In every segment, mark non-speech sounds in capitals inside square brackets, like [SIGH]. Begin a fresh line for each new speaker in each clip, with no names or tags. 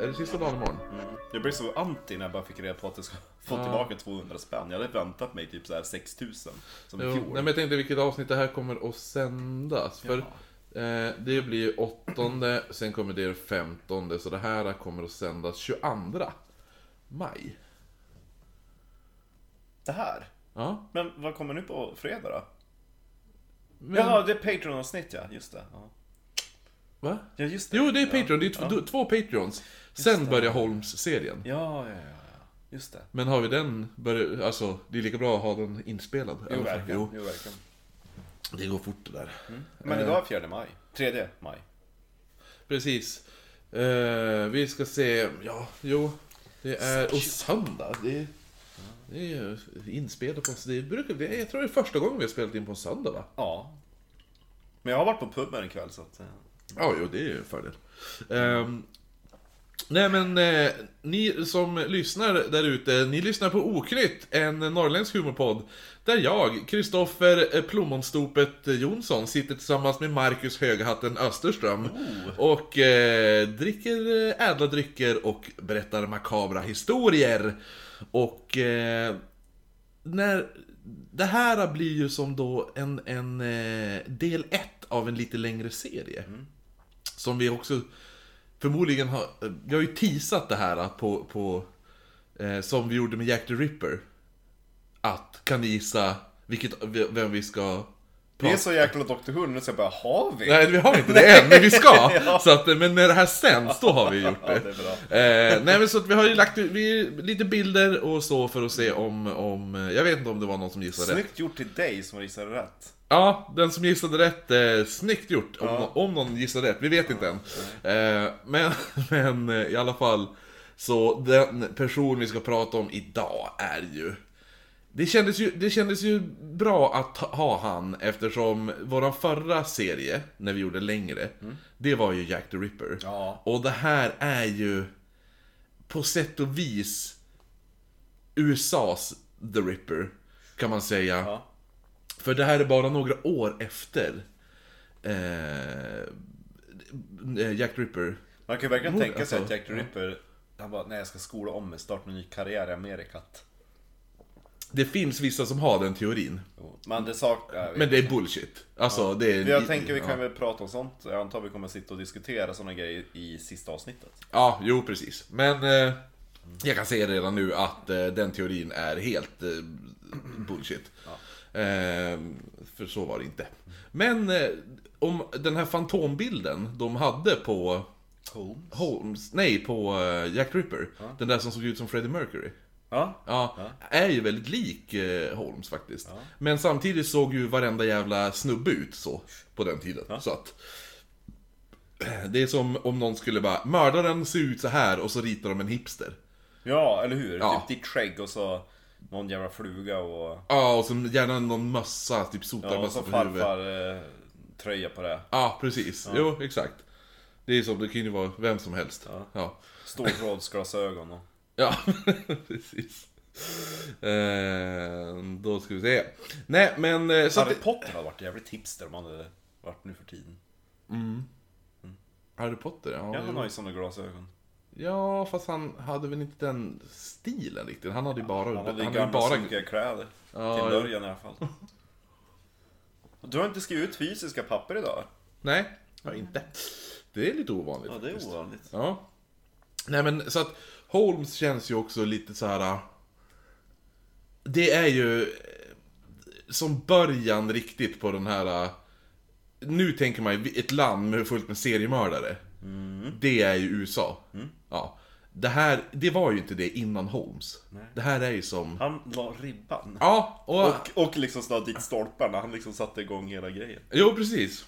eh, sista dagen imorgon.
Jag blev så anti när jag bara fick reda på att jag ska få tillbaka 200 spänn. Jag hade väntat mig typ så här 6000 som i
Jo,
fjol.
nej, men jag tänkte vilket avsnitt det här kommer att sändas. För eh, det blir ju åttonde, sen kommer det femtonde, så det här kommer att sändas 22 maj.
Det här?
Ja.
Men vad kommer nu på fredag då?
Men,
Jaha, det är Patreon-avsnitt ja, just det. Ja,
va?
ja just det.
Jo, det är
Ja,
Patreon. Det är tv- du- två Patreons. Sen börjar Holmes-serien.
ja, ja, ja, ja. just det.
Men har vi den, börjar, alltså det är lika bra att ha den inspelad.
Jo,
Alltså,
verkligen. Mm. Jo, verkligen.
det går fort det där.
Men idag
Eh.
är 4 maj. 3 maj.
Precis. Eh, vi ska se, ja, jo. Det är, och söndag, det, det är ju inspelat på en, det brukar, det, är- jag tror det är första gången vi har spelat in på en söndag va?
Ja. Men jag har varit på puben en kväll så att... eh,
Ja, jo, det är ju en fördel. Ehm, nej, men eh, ni som lyssnar där ute, ni lyssnar på Oknytt, en norrländsk humorpodd. Där jag, Kristoffer eh, Plommonstopet Jonsson, sitter tillsammans med Marcus Höghatten Österström. Och eh, dricker eh, ädla drycker och berättar makabra historier. Och... Eh, när det här blir ju som då en, en eh, del 1 av en lite längre serie.
Mm.
Som vi också förmodligen har, jag har ju teasat det här att på, på eh, som vi gjorde med Jack the Ripper. Att, kan ni gissa vilket, vem vi ska
Vi är så jäkla Dr. Who nu så jag bara, har vi?
Nej, vi har inte det än, men vi
[LAUGHS]
ska! så att, eh, men när det här sänds, då har vi gjort det.
Ja, det är bra.
Eh, nej men så att vi har ju lagt ut- vi, lite bilder och så för att se om, om... eh, Jag vet inte om det var någon som gissade rätt.
Snyggt gjort till dig som gissade rätt.
Ja, den som gissade rätt, eh, snyggt gjort! Om, nå- om någon gissade rätt, vi vet inte än. Eh, men, [LAUGHS] men eh, i alla fall, så den person vi ska prata om idag är ju... Det kändes ju, det kändes ju bra att ha- ha han eftersom våran förra serie, när vi gjorde längre, det var ju Jack the Ripper.
Mm. Ja.
Och det här är ju på sätt och vis USAs The Ripper, kan man säga.
Ja.
För det här är bara några år efter eh, Jack the Ripper.
Man kan ju verkligen
Mord,
tänka sig
alltså.
att Jack the Ripper, han bara, nej jag ska skola om mig, starta en ny karriär i Amerikat.
Det finns vissa som har den teorin,
Jo, Men det saknar
men det är bullshit. Alltså, det är...
Jag tänker vi kan
ja.
väl prata om sånt, jag antar vi kommer sitta och diskutera sådana grejer i sista avsnittet.
ja, jo precis. Men eh, jag kan säga redan nu att eh, den teorin är helt eh, bullshit. Eh, för så var det inte. Men eh, om den här fantombilden de hade på
Holmes?
Holmes, nej på eh, Jack the Ripper, den där som såg ut som Freddie Mercury.
Ja.
Ja, är ju väldigt lik eh, Holmes faktiskt. Men samtidigt såg ju varenda jävla snubbe ut så, på den tiden. Så att, [CLEARS THROAT] det är som om någon skulle bara, mördaren ser ut så här och så ritar de en hipster.
Ja, eller hur?
Ja.
Typ ditt skägg och så någon jävla fluga och...
Ja, och så gärna någon mössa, typ
Ja,
sotarmössa
och så
på huvudet.
farfar eh, tröja på det.
Ja, precis. Jo, exakt. Det är som, det kan ju vara vem som helst. Ja.
Ståltrådsglasögon och...
Ja, [LAUGHS] precis. Eh, då ska vi se. Nej, men... eh, Så
Harry
att,
Potter hade varit jävligt hipster om han hade varit nu för tiden.
Harry Potter, ja.
Ja,
jo.
han har ju sådana glasögon.
Ja, fast han hade väl inte den stilen riktigt. Han hade ju bara...
Han hade ju
han hade ju
gamla
bara...
sunkiga kläder.
Ja,
till
ja.
början i alla fall. [LAUGHS] Du har inte skrivit ut fysiska papper idag?
Nej, ja, inte. Det är lite ovanligt
Ja, det
faktiskt.
är ovanligt.
Ja. Nej men så att Holmes känns ju också lite så här. äh, Det är ju eh, som början riktigt på den här... äh, Nu tänker man ju ett land med fullt med seriemördare.
Mm.
Det är ju USA. Ja. Det här, det var ju inte det innan Holmes. Det här är ju som...
Han la ribban.
Ja, och...
Och, och liksom snöade dit stolparna. Han liksom satte igång
[LAUGHS]
hela grejen.
Jo, precis.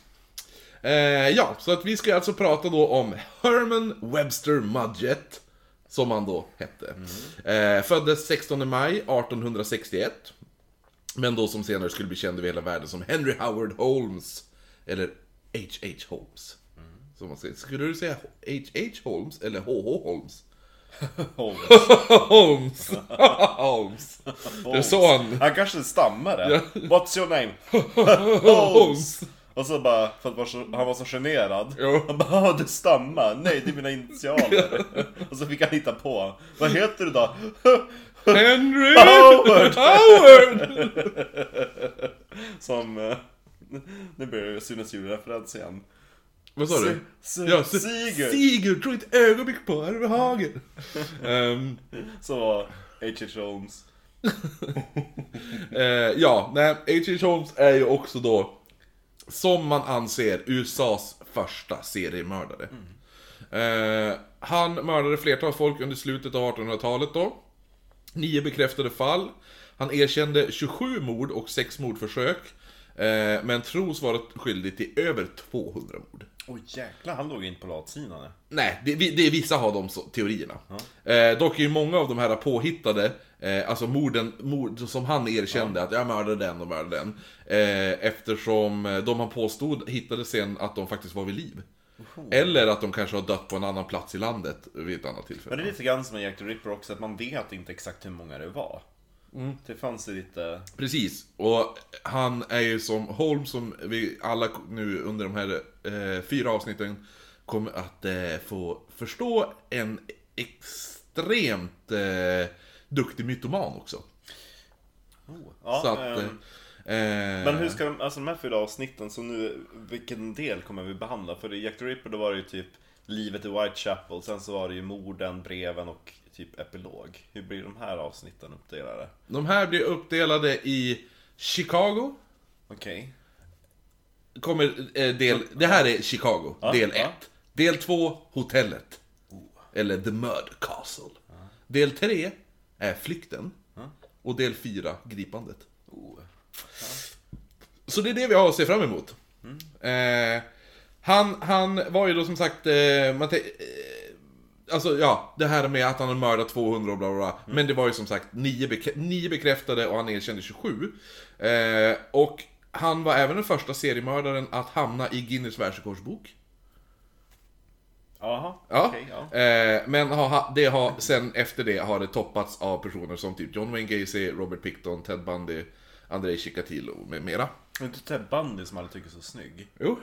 Eh, ja, så att vi ska alltså prata då om Herman Webster Mudgett, som han då hette. Eh, föddes 16 maj 1861, men då som senare skulle bli känd över hela världen som Henry Howard Holmes, eller H.H. Holmes. Som man säger. Skulle du säga H.H. Holmes eller H.H. Holmes? [LAUGHS]
Holmes.
Holmes! [LAUGHS] Holmes! Det är så han...
Han kanske stammade. What's your name?
[LAUGHS] Holmes!
Och så bara, för att var så, han var så generad.
Jo.
Han bara, "Ah, du stammar? Nej, det är
[LAUGHS]
mina initialer. och så fick han hitta på. Vad heter du då? [LAUGHS]
Henry
Howard!
Howard!
Som... eh, Nu blir det Sunes julreferens igen.
Vad sa du?
Sig-
Ja,
Sig-
Sigurd!
Sigurd!
Sigurd, tro inte ett ögonblick på Arve Hagen! [LAUGHS] Ehm,
Så var H.H. Holmes.
eh, ja, nej, H.H. Holmes är ju också då, som man anser, USAs första seriemördare. Eh, han mördade flertal folk under slutet av 1800-talet då. Nio bekräftade fall. Han erkände 27 mord och 6 mordförsök. Eh, men tros vara skyldig till över 200 mord.
Oj jäklar, han låg inte på latsidan. nej.
Nej, det, vi- det, vissa har de så, teorierna. Eh, dock är ju många av de här påhittade, eh, alltså morden, mord som han erkände att jag mördade den och mördade den. Eh, eftersom eh, de han påstod hittade sen att de faktiskt var vid liv. Eller att de kanske har dött på en annan plats i landet vid ett annat tillfälle.
Men det är lite grann som en Jack the Ripper också, att man vet inte exakt hur många det var.
Mm.
Det fanns ju lite...
Precis, och han är ju som Holm som vi alla nu under de här eh, fyra avsnitten kommer att eh, få förstå en extremt eh, duktig mytoman också.
Oh. Ja,
Så att... Eh,
ehm, Men hur ska de, alltså de här fyra avsnitten, så nu, vilken del kommer vi behandla? För i Jack the Ripper då var det ju typ livet i Whitechapel, sen så var det ju morden, breven och typ epilog. Hur blir de här avsnitten uppdelade?
De här blir uppdelade i Chicago,
Okej.
kommer eh, del... Det här är Chicago, del 1.
ja. Oh.
Del 2, hotellet. Eller The Murder Castle. Del 3 är flykten. Och del 4, gripandet.
Oh.
Så det är det vi har att se fram emot.
Mm.
Eh, han, han var ju då som sagt... Eh, man tänk- eh, alltså ja, det här med att han har mördat 200 och bla bla bla.
Mm.
Men det var ju som sagt nio, bek- nio bekräftade och han erkände 27. Eh, och han var även den första seriemördaren att hamna i Guinness världsrekordsbok.
Jaha,
Ja.
okej, ja.
Eh, men har, ha- det har, sen efter det har det toppats av personer som typ John Wayne Gacy, Robert Picton, Ted Bundy, Andrei Chikatilo med mera.
Men inte Ted Bundy som alla tycker är så snygg.
Jo.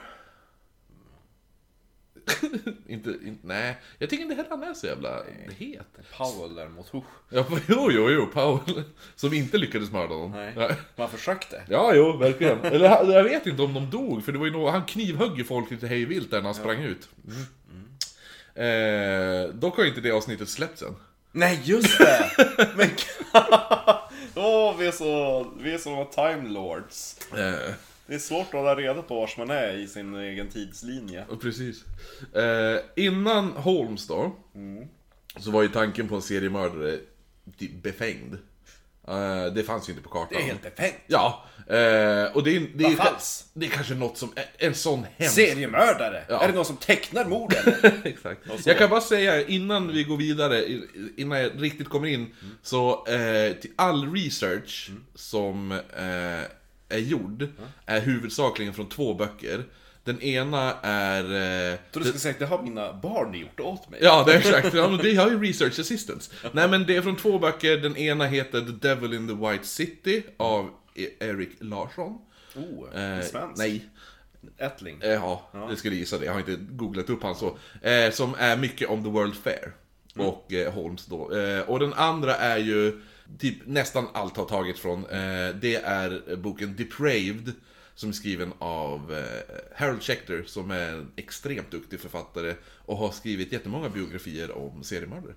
[LAUGHS] inte, inte, nej, jag tycker inte heller han är så jävla het.
Powell däremot, oh.
Ja, jo, jo, jo, Paul. [LAUGHS] Som inte lyckades mörda någon.
Nej.
Ja.
Man försökte.
Ja, jo, verkligen. Eller han- jag vet inte om de dog, för det var ju någon, han knivhögg ju folk lite hejvilt där när han sprang ut. Mm. Eh, dock har inte det avsnittet släppts än.
Nej, just [LAUGHS] det! Men Åh, vi är så, vi är såna time lords.
Eh,
Det är svårt att hålla reda på vars man är i sin egen tidslinje.
och precis. Eh, innan Holmes då, Mm. så var ju tanken på en seriemördare typ befängd. Eh, det fanns ju inte på kartan.
befängt.
Ja, eh, och det är, det,
Vad
är,
fanns?
det är kanske något som, en sån hemsk...
Seriemördare?
Ja.
Är det någon som tecknar [LAUGHS] morden?
[LAUGHS] Exakt.
Och så-
Jag kan bara säga innan vi går vidare, i- innan jag riktigt kommer in, så eh, till all research
Mm.
som eh, är gjord är huvudsakligen från två böcker. Den ena är... Eh,
Så du skulle säga att det har mina barn gjort åt mig?
Ja, det är exakt. Ja, men vi har ju Research Assistance. Nej, men det är från två böcker. Den ena heter The Devil in the White City av E- Erik Larsson.
Oh,
Eh,
en svensk?
nej,
Ättling?
Eh, Ja, jag skulle gissa det. Jag har inte googlat upp han så. Eh, som är mycket om The World Fair. Och eh, Holmes då. Eh, och den andra är ju, typ nästan allt har tagits från. Eh, det är boken Depraved. Som är skriven av eh, Harold Schechter som är en extremt duktig författare. Och har skrivit jättemånga biografier om seriemördare.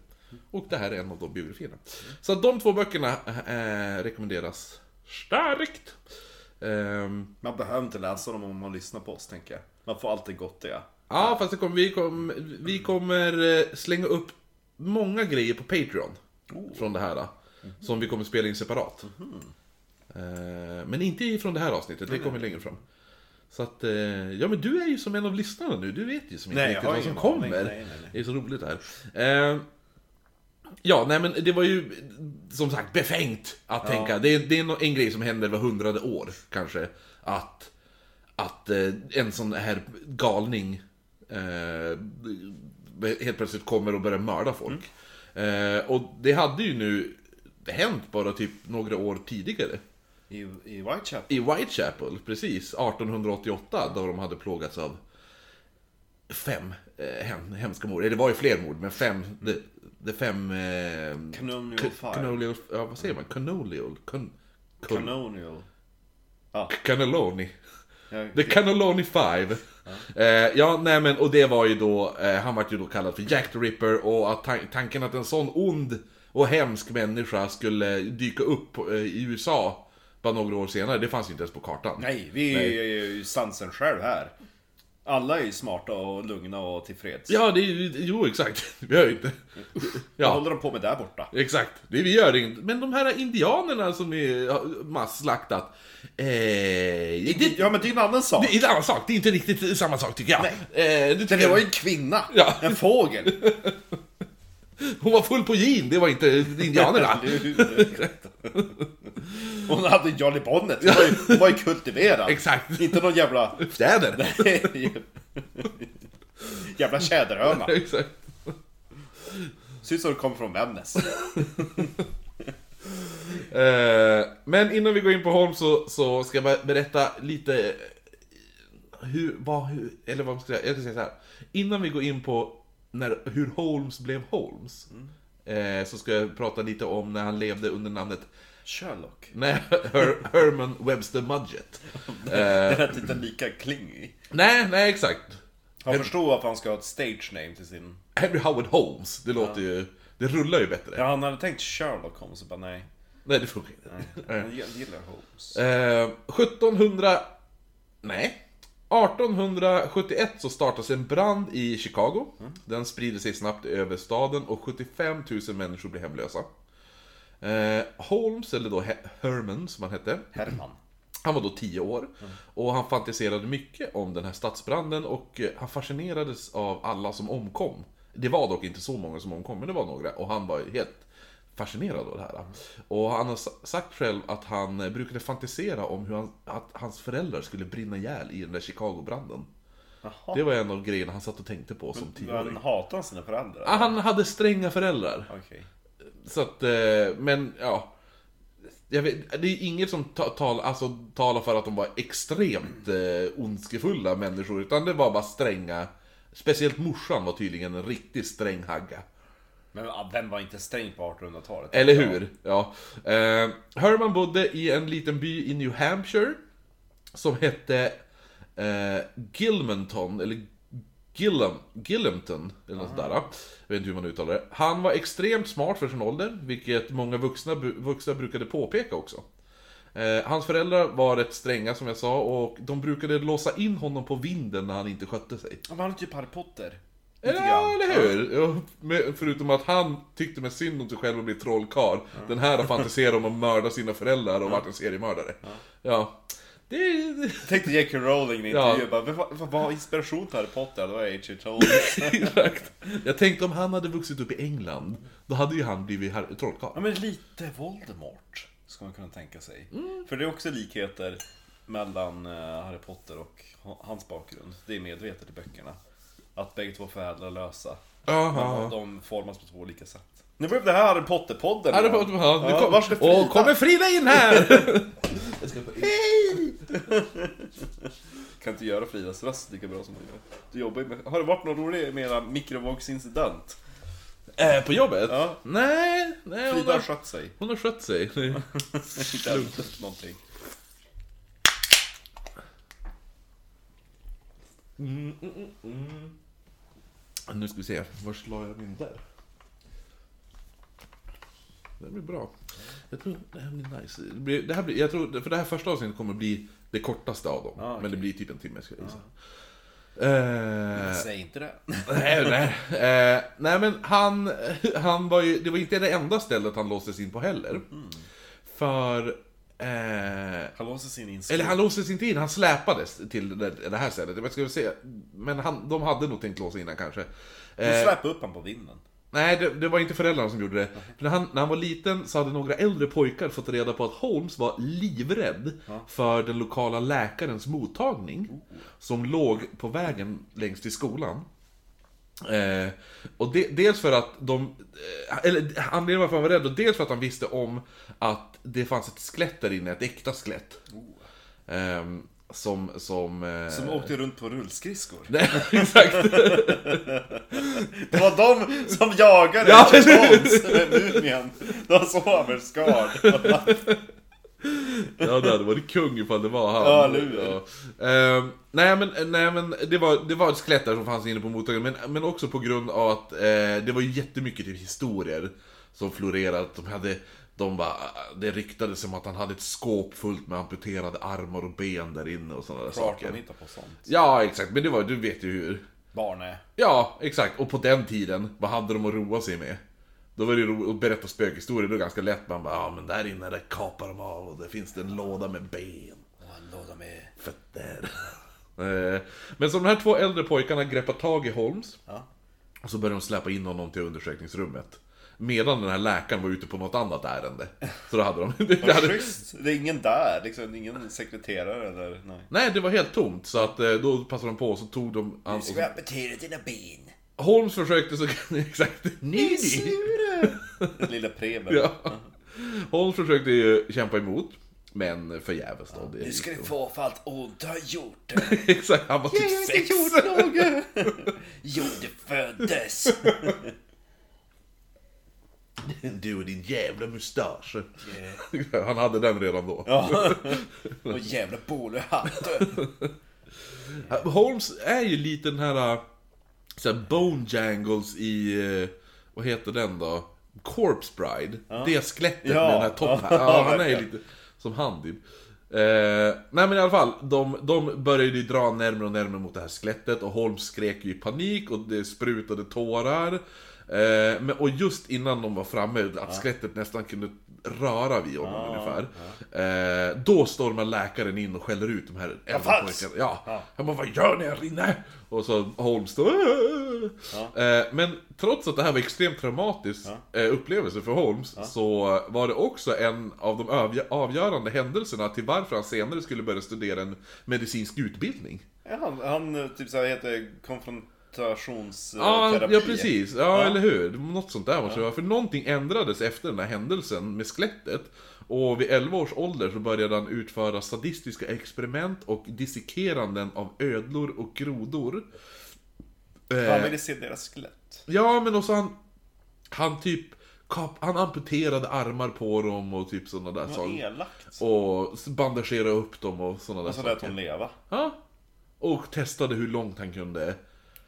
Och det här är en av de biografierna. Så att de två böckerna eh, rekommenderas starkt. Ehm,
Man behöver inte läsa dem om man lyssnar på oss, tänker jag. Man får alltid gottiga.
Ja, fast det kommer, vi, kom, vi kommer eh, slänga upp många grejer på Patreon.
Oh.
Från det här. då, Som vi kommer spela in separat.
Mhm.
Eh, Men inte från det här avsnittet, det kommer längre fram. Så att, eh, ja men du är ju som en av lyssnarna nu, du vet ju som inte
Nej, jag
riktigt
har
vad som
ingen aning.
kommer.
Nej, nej, nej.
Det är så roligt det här. Eh, Ja, nej men det var ju som sagt befängt att tänka. Det är, det är nå- en grej som händer var hundrade år kanske. Att, att eh, en sån här galning eh, helt plötsligt kommer och börjar mörda folk. Eh, och det hade ju nu hänt bara typ några år tidigare
I, i Whitechapel?
I Whitechapel, precis. 1888, då de hade plågats av fem eh, hem, hemska mord. Eh, Det var ju fler mord, men fem... De, de fem... Eh,
Canonial
k-
Fire.
Canonial... Ja, vad säger man? Canonial? Con, con,
Canonial.
Cannelloni.
Ja,
The Cannelloni Five. Ja. Eh, ja, nej men och det var ju då, eh, han vart ju då kallad för Jack the Ripper och att tan- tanken att en sån ond och hemsk människa skulle dyka upp eh, i USA bara några år senare, det fanns ju inte ens på kartan.
Nej, vi är ju sansen själv här. Alla är ju smarta och lugna och tillfreds.
Ja, det är ju, jo exakt. [LAUGHS] Vi har ju inte...
Vad
Ja,
håller de på med där borta?
exakt. Det vi gör inget. Men de här indianerna som är har masslaktat. Eh, det,
Ja, men det är en annan sak.
det är en annan sak, det är inte riktigt samma sak tycker jag. Eh, det,
Men
tycker
det
jag-
var ju en kvinna.
Ja.
En fågel.
Hon var full på gin, det var inte
[LAUGHS]
indianerna.
Hon hade Johnny Bonnet. Hon var ju, hon var ju kultiverad.
Exakt.
Inte någon jävla...
Fjäder.
jävla tjäderhöna.
[LAUGHS] Exakt.
Ser ut som hon kom från Vännäs.
Eh, men innan vi går in på Holm så, så ska jag bara berätta lite eh, hur, vad, hur, eller vad ska jag, jag ska säga så här. Innan vi går in på när, hur Holmes blev Holmes, eh, så ska jag prata lite om när han levde under namnet
Sherlock.
nej, Her, Herman Webster Mudgett. Eh,
Det lät inte lika klingig.
nej, nej exakt.
Jag förstår varför han ska ha ett stage name till sin...
Henry Howard Holmes, det låter ju, det rullar ju bättre.
Ja, han hade tänkt Sherlock Holmes och bara nej.
Nej, det funkar inte.
Han gillar Holmes.
Eh, 1700... Nej. 1871 så startas en brand i Chicago. Den sprider sig snabbt över staden och 75 000 människor blir hemlösa. Eh, Holmes, eller då He- Herman som han hette,
Herman.
han var då 10 år. Och han fantiserade mycket om den här stadsbranden och eh, han fascinerades av alla som omkom. Det var dock inte så många som omkom, men det var några. Och han var ju helt fascinerad av det här. Och han har sa- sagt själv att han eh, brukade fantisera om hur han, att hans föräldrar skulle brinna ihjäl i den där Chicago-branden.
Jaha.
Det var en av grejerna han satt och tänkte på som
Han
tioåring.
hatar han sina föräldrar?
Ah, Han hade stränga föräldrar.
Okej.
Så att, eh, men ja. Jag vet, det är inget som ta, tal, alltså, talar för att de var extremt eh, ondskefulla människor, utan det var bara stränga. Speciellt morsan var tydligen en riktigt sträng hagga.
Men ah, vem var inte sträng på 1800-talet?
Eller hur? Ja. Eh, Herman bodde i en liten by i New Hampshire som hette eh, Gilmanton, eller Gillam, Gillamton, eller något sådär. Jag vet inte hur man uttalar det. Han var extremt smart för sin ålder, vilket många vuxna, bu- vuxna brukade påpeka också. Eh, hans föräldrar var rätt stränga som jag sa och de brukade låsa in honom på vinden när han inte skötte sig.
Ja, men han är typ Harry Potter. Lite
Ja,
grann.
eller hur? Ja, men Förutom att han tyckte med synd om sig själv och blev trollkarl. Den här har fantiserat om att mörda sina föräldrar och varit en seriemördare. Ja. Det är...
Jag tänkte J.K. Rowling i en
Ja.
intervju, bara, vad, vad var inspiration till Harry Potter? Det var H.H.
[LAUGHS]
Holmes.
Exakt. Jag tänkte om han hade vuxit upp i England, då hade ju han blivit här- trollkarl.
ja, men lite Voldemort, skulle man kunna tänka sig.
Mm.
För det är också likheter mellan eh, Harry Potter och h- hans bakgrund. Det är medvetet i böckerna. Att bägge två föräldralösa.
Jaha.
De formas på två olika sätt. Nu blev det här Harry Potter-podden.
Harry
igen.
Potter, ja, nu
Ja,
kom,
vars är Frida?
Åh, kommer Frida in här! Hej!
Kan inte göra Fridas röst lika bra som hon gör. Du jobbar ju med... Har det varit någon rolig med era mikrovågsincident?
Eh, på jobbet?
Ja.
Nej, nej hon,
Frida har
har, [LAUGHS]
skött sig.
hon har skött sig.
Inte ätit någonting.
Nu ska vi se, var slår jag min där? Det här blir bra. Jag tror det här blir nice. Det blir, det här blir, jag tror, för det här första avsnittet kommer bli det kortaste av dem.
Ah, okej. Ah.
Men det blir typ en timme ska jag gissa. Eh,
Säg inte det.
nej, nej. Eh, nej men han, han var ju, det var inte det enda stället han låstes in på heller.
Mm.
För, eh,
[LAUGHS] Han låses in i en
eller han låstes inte in, han släpades till det, det här stället. Jag ska se, men han, de hade nog tänkt låsa in han kanske. eh.
Du släpper upp honom på vinden.
Nej, det, det var inte föräldrarna som gjorde det. För när, han, när han var liten så hade några äldre pojkar fått reda på att Holmes var livrädd för den lokala läkarens mottagning. Som låg på vägen längst till skolan. Eh, och de, dels för att de, eh, eller anledningen varför han var rädd, och dels för att han visste om att det fanns ett skelett där inne, ett äkta skelett. Ehm, som, som... eh,
Som åkte runt på rullskridskor.
[LAUGHS] Nej, exakt.
Det var de som jagade
Ja.
James Bond [LAUGHS] med mumien. De
[LAUGHS]
sover skad.
Ja, det hade varit kung ifall det var han.
Ja, eller hur?
Ja. Ehm, nej, men, nej, men det, var, det var ett skelett där som fanns inne på mottagningen, men, men också på grund av att eh, det var ju jättemycket typ, historier som florerade. att De hade, de bara, det ryktades om att han hade ett skåp fullt med amputerade armar och ben där inne och sådana där
Klart
saker.
man hittar på sånt.
Ja, exakt. Men det var, du vet ju hur.
Barn är.
Ja, exakt. Och på den tiden, vad hade de att roa sig med? Då var det roligt att berätta spökhistorier, det var ganska lätt. Man bara, ja men där inne där kapar de av och där finns det en låda med ben,
Och en låda med...
fötter. [LAUGHS] Eh, men så de här två äldre pojkarna greppar tag i Holmes
Ja.
och så börjar de släpa in honom till undersökningsrummet. Medan den här läkaren var ute på något annat ärende. Så då hade de... [LAUGHS] Det
Vad
hade,
schysst. Det är ingen där liksom. Ingen sekreterare eller... Nej.
nej, det var helt tomt. Så att eh, då passade de på och så tog de... Han, och så,
amputera dina ben.
Holmes försökte så... [LAUGHS] exakt. Nej, nej.
Sure. Lilla Preben.
Ja. Holmes försökte ju kämpa emot, men förgäves då. Det
Nu ska
gick
du få för allt ont du har gjort. Jag
ju- [LAUGHS] Exakt, han var typ sex.
något. [LAUGHS] Jo, du föddes.
Du och din jävla mustasch. [LAUGHS] Han hade den redan då.
Ja. Och jävla bowlerhatt.
Eh, Holmes är ju lite den här, äh, så här bone jangles i, eh, vad heter den då? Corpse Bride. Det skelettet
Ja.
med den här toppen.
Ja,
Ja, han är ju
verkligen.
lite som han typ. Eh, nej men i alla fall, de, de började ju dra närmare och närmare mot det här skelettet och Holmes skrek ju i panik och det sprutade tårar. Eh, men, och just innan de var framme, att skelettet nästan kunde röra vid honom ungefär. Eh, då stormar läkaren in och skäller ut de här äldre
fanns!
pojkarna. Ja.
Ja.
Han bara, vad gör ni här inne? Och så Holmes då, "Åh." Eh, Men trots att det här var extremt traumatisk eh, upplevelse för Holmes så var det också en av de avgö- avgörande händelserna till varför han senare skulle börja studera en medicinsk utbildning.
Ja, han, han eh, typ så här heter eh, konfrontationsterapi.
Ja, ja precis. Eh, Ja, eller hur. Det var Något sånt där måste det vara. För någonting ändrades efter den här händelsen med skelettet. Och vid 11 års ålder så började han utföra sadistiska experiment och dissekeranden av ödlor och grodor. Eh,
Han ville se deras skelett.
Ja, men också han... Han typ... Kap, han amputerade armar på dem och typ sådana där
Vad
saker.
elakt.
Och s- bandagerade upp dem och typ. sådana där
Och så lät hon
saker.
leva.
Ja. Och testade hur långt han kunde.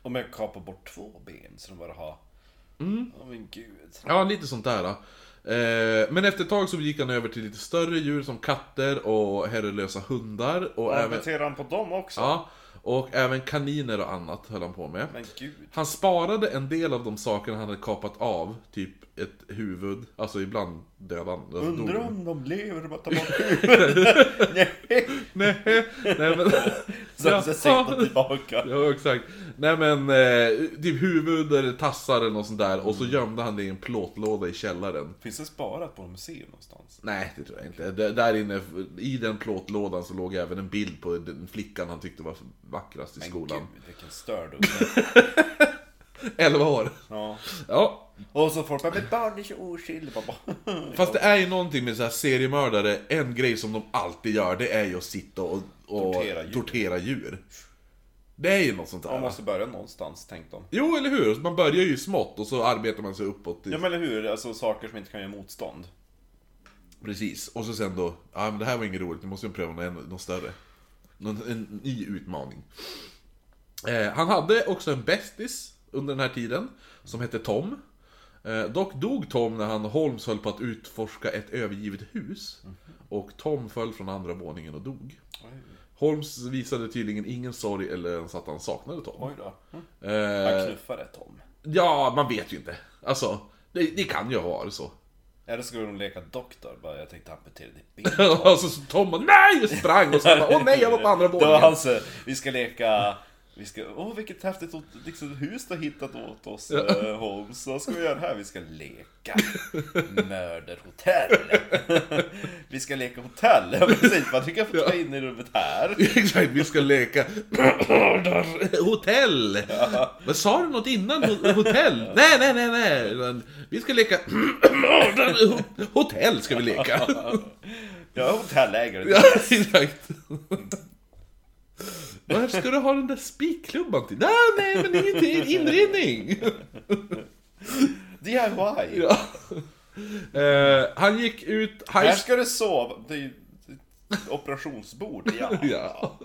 Och med kapa bort två ben så de bara har...
Mm.
Åh men gud.
Ja, lite sånt där. då. Eh, Men efter ett tag så gick han över till lite större djur som katter och herrelösa hundar. Och även,
Amputerade han på dem också?
ja, och även kaniner och annat höll han på med.
Men gud.
Han sparade en del av de sakerna han hade kapat av, typ ett huvud, alltså ibland dödade han. alltså dog
Undrar
han.
om de lever och bara tar [LAUGHS] bort huvudet. Nej.
Nej, [LAUGHS] nej men...
[LAUGHS] Så
ja,
ja. siktar tillbaka.
[LAUGHS] ja, exakt. Nej men, eh, typ huvud eller tassar eller något sånt där. Och
Mm.
så gömde han det i en plåtlåda i källaren.
Finns det sparat på museum någonstans?
Nej, det tror jag inte. D- där inne, i den plåtlådan så låg även en bild på den flickan han tyckte var vackrast i skolan.
gud, vilken störd
[LAUGHS] 11 år.
Ja.
Ja,
Och så folk bara, men barn är så oskyldiga. Bara, [LAUGHS]
fast det är ju någonting med så här seriemördare. En grej som de alltid gör, det är ju att sitta och, och
Tortera djur.
tortera djur. Det är ju något sånt där.
Man måste börja någonstans, tänkte de.
Jo, eller hur? Man börjar ju smått och så arbetar man sig uppåt. I...
Ja men eller hur, alltså saker som inte kan göra motstånd.
Precis. Och så sen då, ja men det här var inget roligt, nu måste jag pröva något, ännu- något större. Någon, en ny utmaning. Eh, han hade också en bästis under den här tiden, som hette Tom. Eh, dock dog Tom när han och Holmes höll på att utforska ett övergivet hus. Och Tom föll från andra våningen och dog. Holmes visade tydligen ingen sorg eller ens att han saknade Tom.
Oj då. Mm.
Eh,
Han knuffade Tom.
ja, man vet ju inte. Alltså, det, det kan ju ha varit så. [LAUGHS]
Eller skulle de leka doktor? Bara, jag tänkte amputera ditt ben.
Och Alltså, så Tom bara, nej! Sprang och så bara, åh nej jag var på andra
[LAUGHS] Det var
våningen.
hans, eh, vi ska leka... Vi ska, åh vilket häftigt åt- liksom, hus du har hittat åt oss eh, Holmes. Vad ska vi göra här? Vi ska leka mörderhotell. Vi ska leka hotell. Ja, precis. Man tycker jag får ta in i rummet här.
[LAUGHS] Exakt, vi ska leka [CLEARS THROAT] hotell. Vad sa du något innan ho- hotell? Nej, nej, nej, nej. Utan Vi ska leka [CLEARS THROAT] hotell ska vi leka.
Jag är
[LAUGHS]
hotellägare.
Ja, exakt. Var ska du ha den där spikklubban till? Nej, nej, men ingenting. Inredning.
DIY.
Ja. Eh, han gick ut
Här
high
ska du sova. Det är ju ett operationsbord. Ja.
[LAUGHS] Ja.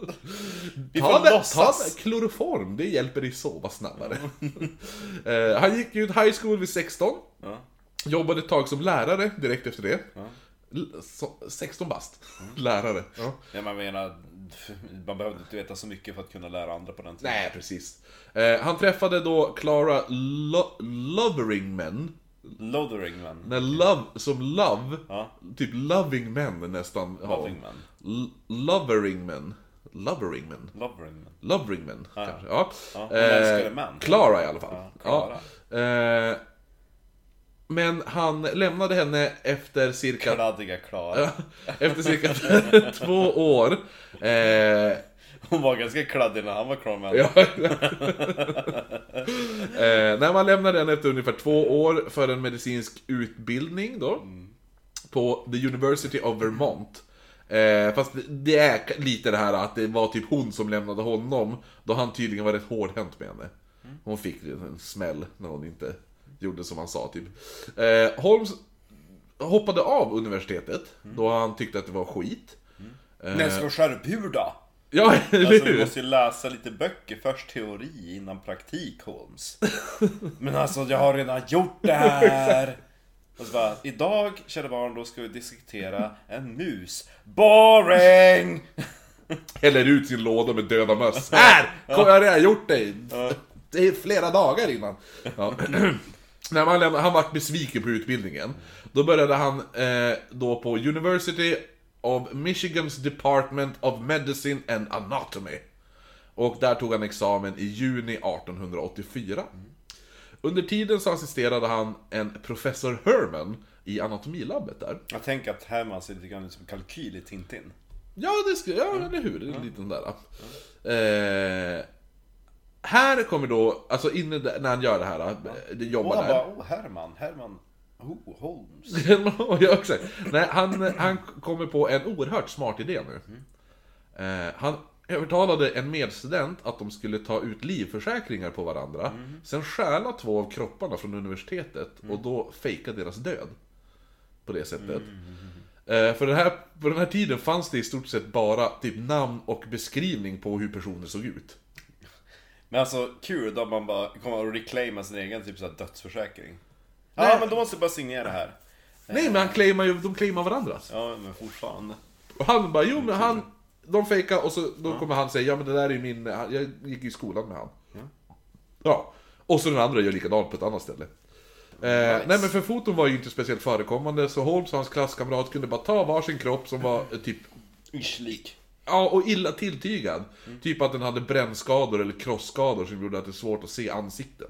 Vi
Ta
får
med, ta
låtsas.
med kloroform, det hjälper dig sova snabbare. [LAUGHS] Eh, han gick ut high school vid 16.
Ja.
Jobbade ett tag som lärare direkt efter det. L- så- 16 bast. [LAUGHS] Lärare. Ja.
Ja, man menar, man behövde inte veta så mycket för att kunna lära andra på den tiden.
Nej, precis. Eh, han träffade då Clara Lo- Loveringman.
Lothering man.
När love, som love,
Ja.
typ loving men nästan. har.
Loving man.
L- Loveringman. Loveringman.
Lovering man.
Loveringman, kanske. Ja. Eh,
Ja, hon älskade män.
Clara i alla fall.
Ja,
Ja,
Clara.
Eh, men han lämnade henne efter
[LAUGHS]
cirka, [LAUGHS]
Kladdiga Klara.
efter cirka [LAUGHS] två år. Eh,
Hon var ganska kladdig när han var crowman.
ja. [LAUGHS] eh, när man lämnade henne efter ungefär två år för en medicinsk utbildning då. På the University of Vermont. Eh, fast det- det är lite det här att det var typ hon som lämnade honom. Då han tydligen var rätt hårdhänt med henne. Hon fick en smäll när hon inte gjorde som han sa typ. Eh, Holmes hoppade av universitetet då han tyckte att det var skit.
Men ska vi skära upp hur då?
Ja, [LAUGHS]
Alltså
Eh. eller
vi
hur?
måste ju läsa lite böcker, först teori innan praktik
[LAUGHS]
Holmes. Men alltså jag har redan gjort det här! Och så bara, idag kära barn, då ska vi diskutera en mus. Boring!
häller ut sin låda med döda möss. Här! Kom, jag har redan gjort dig! Det är flera dagar innan. Ja. [CLEARS THROAT] När man lämnade, han vart besviken på utbildningen. Då började han eh, då på University of Michigans Department of Medicine and Anatomy. Och där tog han examen i juni 1884. Under tiden så assisterade han en professor Herman i anatomilabbet där.
Jag tänker att Herman ser lite grann ut som kalkyl i Tintin.
Ja, det ska, ja eller hur? En liten där. Eh, här kommer då, alltså inne där, när han gör det här, eh, det
Och
jobbar
han
där.
bara, oh Herman, Herman, oh Holmes.
ja, exakt. Nej, han, han kommer på en oerhört smart idé nu. Eh, han övertalade en medstudent att de skulle ta ut livförsäkringar på varandra, sen stjäla två av kropparna från universitetet och då fejka deras död. På det sättet. Eh, För den, här, på den här tiden fanns det i stort sett bara typ namn och beskrivning på hur personer såg ut.
Men alltså kul då man bara kommer och reclaima sin egen typ såhär dödsförsäkring.
Nej.
Ja men då måste jag bara signera här.
Nej men han claimar ju, de claimar varandra.
Ja men fortfarande.
Och han bara, jo men han, de fejkar och så då kommer han säga, ja men det där är ju min, han- jag gick ju i skolan med han. Ja, och så den andra gör likadant på ett annat ställe. Eh, nej men för foton var ju inte speciellt förekommande så Holmes och hans klasskamrat kunde bara ta varsin kropp som var eh, typ,
Ish lik.
ja och illa tilltygad. Typ att den hade brännskador eller krossskador som gjorde att det är svårt att se ansikten.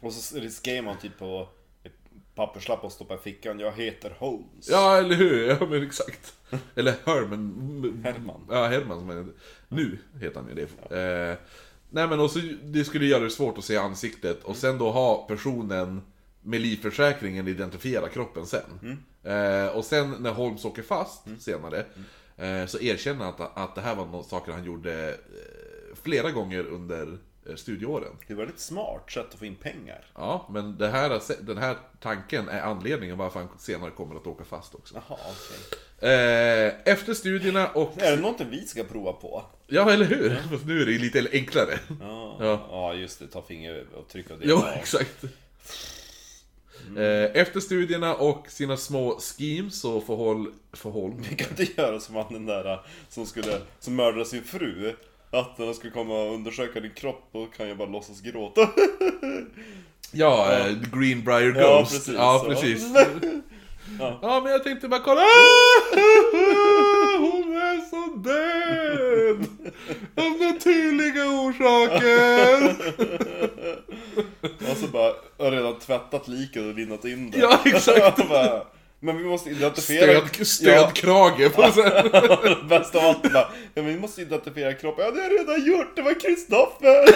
Och så riskerar man typ på ett papperslapp och stoppa i fickan. Jag heter Holmes.
Ja eller hur, ja men exakt. Eller Herman,
Herman.
Ja, Herman som är, Nu heter han ju det. Eh, nej men och så, det skulle göra det svårt att se ansiktet och sen då ha personen med livförsäkringen identifiera kroppen sen. Eh, och sen när Holmes åker fast senare eh, så erkänner han att, att det här var någon saker han gjorde eh, flera gånger under eh, studieåren.
Det var ett smart sätt att få in pengar.
Ja, men det här, den här tanken är anledningen varför han senare kommer att åka fast också.
Jaha, okej.
Eh, efter studierna och...
Är det någonting vi ska prova på?
Ja, eller hur? Fast nu är det ju lite enklare.
Ja,
Ja.
ja just det. Ta fingeravtryck av det. Mm.
Ja, exakt. Eh, Efter studierna och sina små schemes så får Holm... Får Holm
Vi kan inte göra som han den där äh, som skulle, som mördade sin fru. Att när han skulle komma och undersöka din kropp och kan jag bara låtsas gråta. [LAUGHS]
ja, eh, Greenbrier Ghost.
Ja, precis.
Ja,
Ja.
precis.
Ja.
[LAUGHS] Ja, men jag tänkte bara
[LAUGHS]
kolla. Hon är så död! Av naturliga
[LAUGHS]
orsaker!
Och så bara, har redan tvättat liket och linnat in det.
Ja, exakt.
[LAUGHS] Och bara, Men vi måste identifiera...
Stöd, stödkrage på något
[LAUGHS]
sätt.
Ja, bäst av allt bara, men vi måste identifiera kroppen. Ja, det har jag redan gjort. Det
[LAUGHS]
var Kristoffer!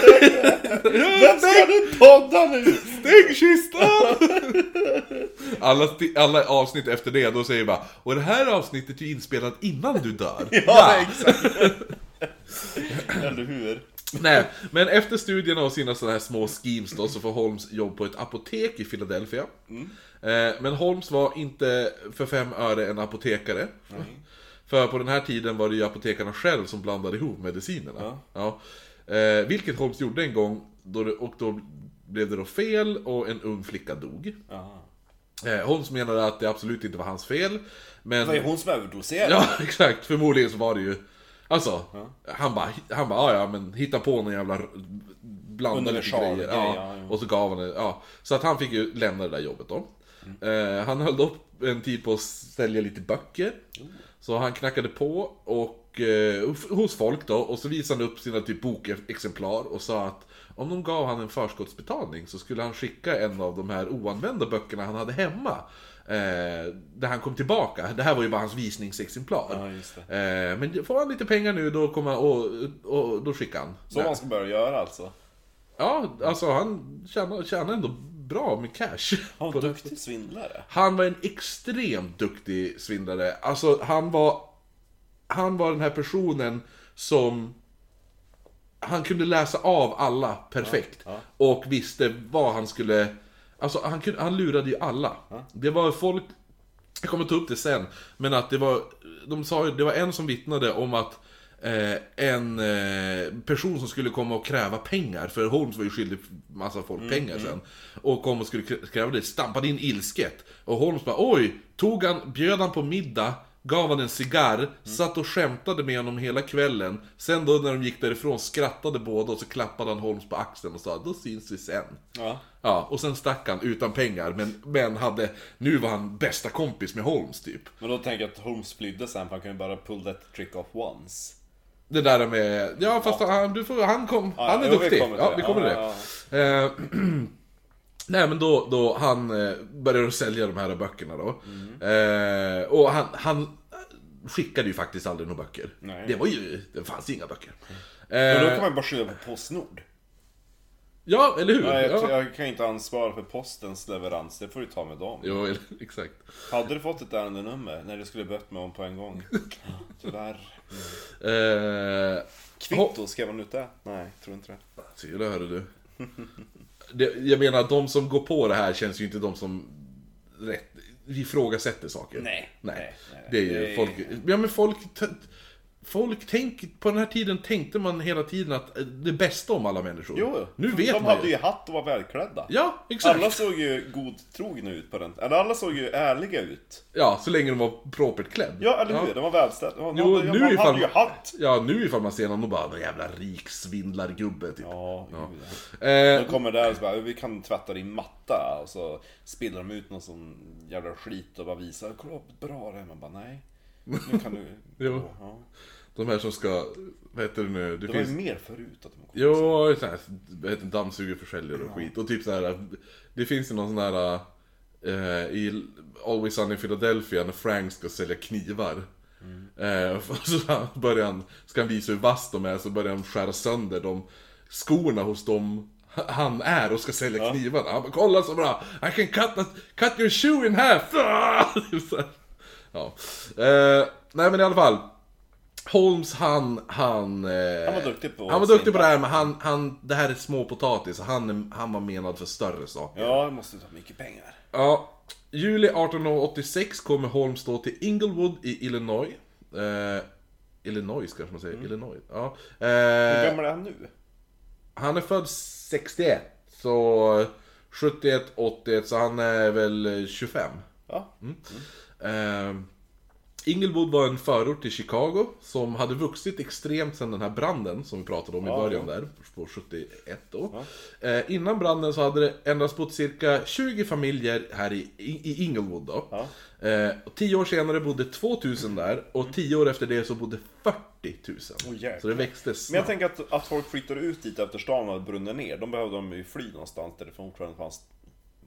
Vem ska du podda nu?
Stängkistan! [LAUGHS] Alla, sti- alla avsnitt efter det, då säger vi bara Och det här avsnittet är ju inspelat innan du dör.
Ja, exakt. [LAUGHS] Eller hur?
Nej, men efter studierna och sina sådana här små schemes då, så får Holmes jobb på ett apotek i Philadelphia. Eh, Men Holmes var inte för fem öre en apotekare. För på den här tiden var det ju apotekarna själv som blandade ihop medicinerna. Ja. Eh, Vilket Holmes gjorde en gång, då det, och då blev det då fel och en ung flicka dog.
Aha.
Eh, Holmes menade att det absolut inte var hans fel. Men...
Det var ju hon som
[LAUGHS]
överdoserade.
Ja, exakt. Förmodligen så var det ju... Alltså, han bara, han bara, "Ja, ja men hitta på någon jävla r- blandade lite
Universal
grejer.
grej,
Ja.
ja, ja.
Och så gav han det, ja. Så att han fick ju lämna det där jobbet då. Eh, han höll upp en tid på att sälja lite böcker. Så han knackade på och, eh, f- hos folk då och så visade han upp sina typ bokexemplar och sa att om de gav han en förskottsbetalning så skulle han skicka en av de här oanvända böckerna han hade hemma. Eh, där han kom tillbaka. Det här var ju bara hans visningsexemplar.
Ja, just det.
Eh, men får han lite pengar nu då kommer han, och, och då skickar han.
Så man ska börja göra alltså.
Ja, alltså han tjänar, tjänar ändå bra med cash.
Han
På
var
det-
duktig svindlare.
Han var en extremt duktig svindlare. Alltså han var... Han var den här personen som... Han kunde läsa av alla perfekt. Och visste vad han skulle... Alltså han, kunde, han lurade ju alla. Det var folk... Jag kommer ta upp det sen. Men att det var... De sa ju, det var en som vittnade om att... Eh, en eh, person som skulle komma och kräva pengar, för Holmes var ju skyldig massa folk pengar sen. Och kom och skulle krä- kräva det, stampade in ilsket. Och Holmes bara oj, tog han, bjöd han på middag, gav han en cigarr, satt och skämtade med honom hela kvällen. Sen då när de gick därifrån skrattade båda och så klappade han Holmes på axeln och sa då syns vi sen.
Ja.
Ja, och sen stack han utan pengar, men, men hade, nu var han bästa kompis med Holmes typ.
Men då tänker jag att Holmes flydde sen för han kunde bara pull that trick off once.
Det där med... Ja, fast han, du får, han, kom,
Ja,
han är
jo, vi
duktig.
kommer till
ja,
det.
vi kommer till
Ja,
det. Eh, [CLEARS THROAT] Nej, men då, då han eh, började sälja de här böckerna då.
Mm.
Eh, och han, han skickade ju faktiskt aldrig några böcker.
Nej.
Det var ju... Det fanns ju inga böcker.
Men då
Eh,
kan man ju bara skylla på Postnord.
ja, eller hur?
Nej, jag,
ja.
jag kan inte ansvara för postens leverans, det får du ta med dem.
Jo, [LAUGHS] eller, exakt.
Hade du fått ett ärendenummer? Nej, du skulle bött mig om på
[LAUGHS]
en gång. Tyvärr.
Eh, ho-
Kvitto, skrev han ut det? Nej, tror inte det.
Se där hörde du. Det, jag menar, de som går på det här känns ju inte de som rätt, ifrågasätter saker.
Nej.
Nej.
Nej, nej,
det är ju
det är-
folk... Ja men folk... t- Folk tänk, på den här tiden tänkte man hela tiden att eh, det bästa om alla människor.
Jo,
nu vet
de
man
hade ju hatt och var välklädda.
Ja, exakt.
Alla såg ju godtrogna ut på den Eller alla såg ju ärliga ut.
Ja, så länge de var propert klädd.
Ja, eller hur? De var välställda. De
Jo,
hade,
nu
man
ifall-
hade ju hatt.
Ja, nu ifall man ser någon och bara "Den jävla rik svindlargubbe typ.
Ja, ja.
Eh,
De kommer där och så bara, vi kan tvätta din matta. Och så spiller de ut någon sån jävla skit och bara visar, kolla vad bra det är. Man bara, nej. Nu kan du...
[LAUGHS] Jo.
Ja.
de här som ska... Vad heter det nu? Det
Det var
finns...
ju mer förut att de kom.
Jo, sån här, vad heter det, dammsugarförsäljare och skit. Och typ så här, det finns ju någon sån här eh, i Always Sunny in Philadelphia när Frank ska sälja knivar. Eh, och så han börjar han, ska han visa hur vass de är, så börjar han skära sönder de skorna hos dem han är och ska sälja knivarna. Han bara, kolla så bra! I can cut, that, cut your shoe in half! [LAUGHS] Så här. ja. eh, nej men i alla fall. Holmes han, han... eh,
Han var duktig på
han var duktig på det här, men han, han, det här är småpotatis. Han, han var menad för större saker.
Ja, det måste ta mycket pengar.
Ja, juli 1886 kommer Holmes då till Inglewood i Illinois. Eh, Illinois kanske man säger, Illinois. Ja.
Hur
Eh,
gammal är han nu?
han är född 61, så 71, 81, så han är väl 25.
Ja.
Eh, Inglewood var en förort till Chicago som hade vuxit extremt sedan den här branden som vi pratade om i början där, på 71 då. Eh, innan branden så hade det endast bott cirka 20 familjer här i, i, i Inglewood då. Eh, och 10 år senare bodde 2000 där och 10 år efter det så bodde 40 000.
Åh, jäklar.
så det växte
Men jag
snabbt.
tänker att, att folk flyttar ut dit efter stan har brunnit ner. De behövde de ju fly någonstans där det fortfarande fanns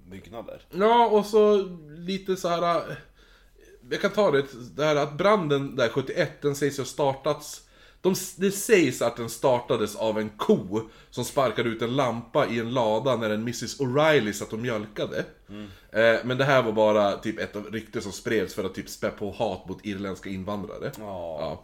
byggnader.
Ja, och så lite så här... äh, jag kan ta det, det här att branden där 71, den sägs ha startats de, det sägs att den startades av en ko som sparkade ut en lampa i en lada när en Mrs O'Reilly satt och mjölkade.
Mm.
Eh, men det här var bara typ ett av rykte som spreds för att typ spä på hat mot irländska invandrare.
Ja.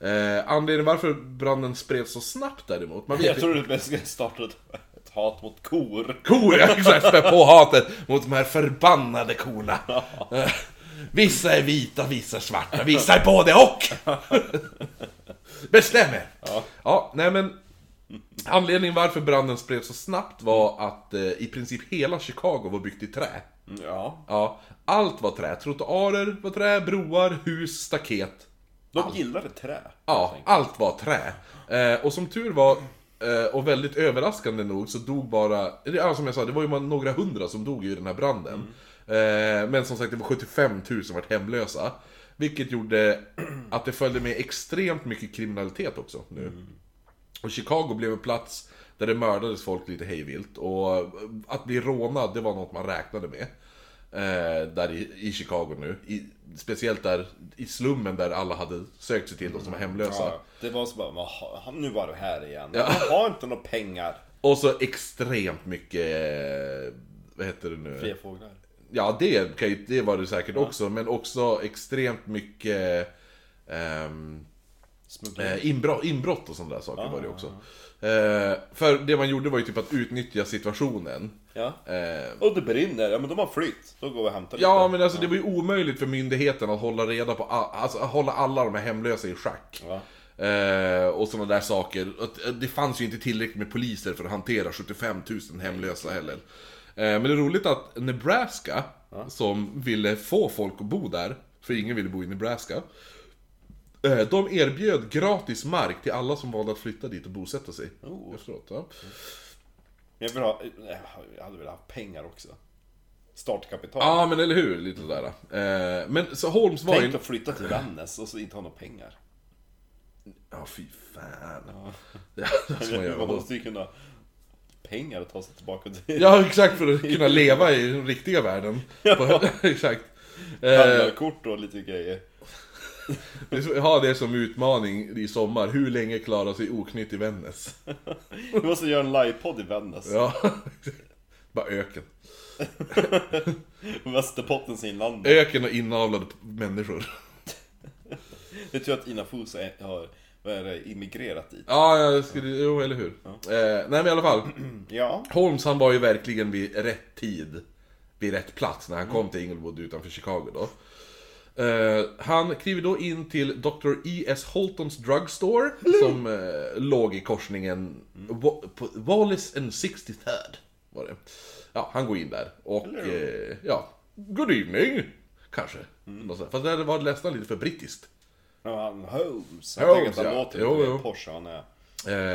Ja. Eh, anledningen varför branden spreds så snabbt däremot, man vet
Jag
inte-
tror du bäst ska starta ett, ett hat mot kor.
Kor, ja exakt, spä på hatet mot de här förbannade korna. Eh, Vissa är vita, vissa är svarta, vissa är både och! Bestäm er! Ja. nej men... Anledningen varför branden spreds så snabbt var att eh, i princip hela Chicago var byggt i trä.
Mm, Ja.
Ja, allt var trä. Trottoarer var trä, broar, hus, staket.
De gillade trä.
Ja, allt var trä. Eh, och som tur var, eh, och väldigt överraskande nog, så dog bara... eller, Ja, som jag sa, det var ju bara några hundra som dog i den här branden. Eh, men som sagt, det var 75 000 som vart hemlösa. Vilket gjorde att det följde med extremt mycket kriminalitet också nu. Och Chicago blev en plats där det mördades folk lite hejvilt. Och att bli rånad, det var något man räknade med. Eh, där i, i Chicago nu. I, speciellt där i slummen där alla hade sökt sig till, de som var hemlösa.
Ja. Det var så bara, "Jaha, nu var du här igen.
Ja.
Jag har inte några pengar.
Och så extremt mycket... eh, Vad heter det nu?
Fria fåglar.
Ja, det, kan ju- det var det säkert också. Men också extremt mycket... ehm,
Smuggla.
Eh, inbrott, inbrott och sådana där saker var det också. Eh, för det man gjorde var ju typ att utnyttja situationen.
Ja.
Eh,
Och det brinner, ja men de har flytt. Då går vi och hämtar
ja,
lite.
men alltså det var ju omöjligt för myndigheten att hålla reda på, all, alltså att hålla alla de här hemlösa i schack.
Ja.
Eh, och sådana där saker. Att- att Det fanns ju inte tillräckligt med poliser för att hantera 75 000 hemlösa heller. Eh, men det är roligt att Nebraska, som ville få folk att bo där, för ingen ville bo i Nebraska, eh, de erbjöd gratis mark till alla som valde att flytta dit och bosätta sig.
Oh.
Efteråt, ja.
Jag, vill ha, eh, jag hade velat ha pengar också. Startkapital.
Ja men eller hur, lite sådär. Eh, men så Holmes var ju...
Tänk att flytta till Vännäs och så inte ha några pengar.
Ja fy fan. [LAUGHS] Ja. vad ska man göra
Man
då?
måste ju kunna ha pengar att ta sig tillbaka till [LAUGHS]
Ja exakt, för att kunna leva i den riktiga världen. På, [LAUGHS] exakt. Eh,
handlarkort och lite grejer.
det är så- ha det som utmaning i sommar. Hur länge klarar sig oknytt i Vännäs?
Vi måste göra en livepodd i Vännäs.
Ja, [LAUGHS] bara öken.
[LAUGHS] Västerbottens inland.
Öken och inavlade människor.
Det tror jag att Ina Fos är- har vad är det, immigrerat dit.
Ja, jag skulle, jo eller hur. Eh, nej men i alla fall.
Ja.
Holmes han var ju verkligen vid rätt tid, vid rätt plats när han kom till Inglewood utanför Chicago då. Eh, han kliver då in till Dr. E.S. Holtons Drugstore som eh, låg i korsningen Wa- på Wallace and 63rd. Var det. Ja, han går in där och eh, ja, good evening kanske. Något sånt. Fast det här var nästan lite för brittiskt.
Ja, han Holmes.
Holmes,
Jag tänker att han
ja.
låter
Jo,
lite
jo.
mer Porsche han är.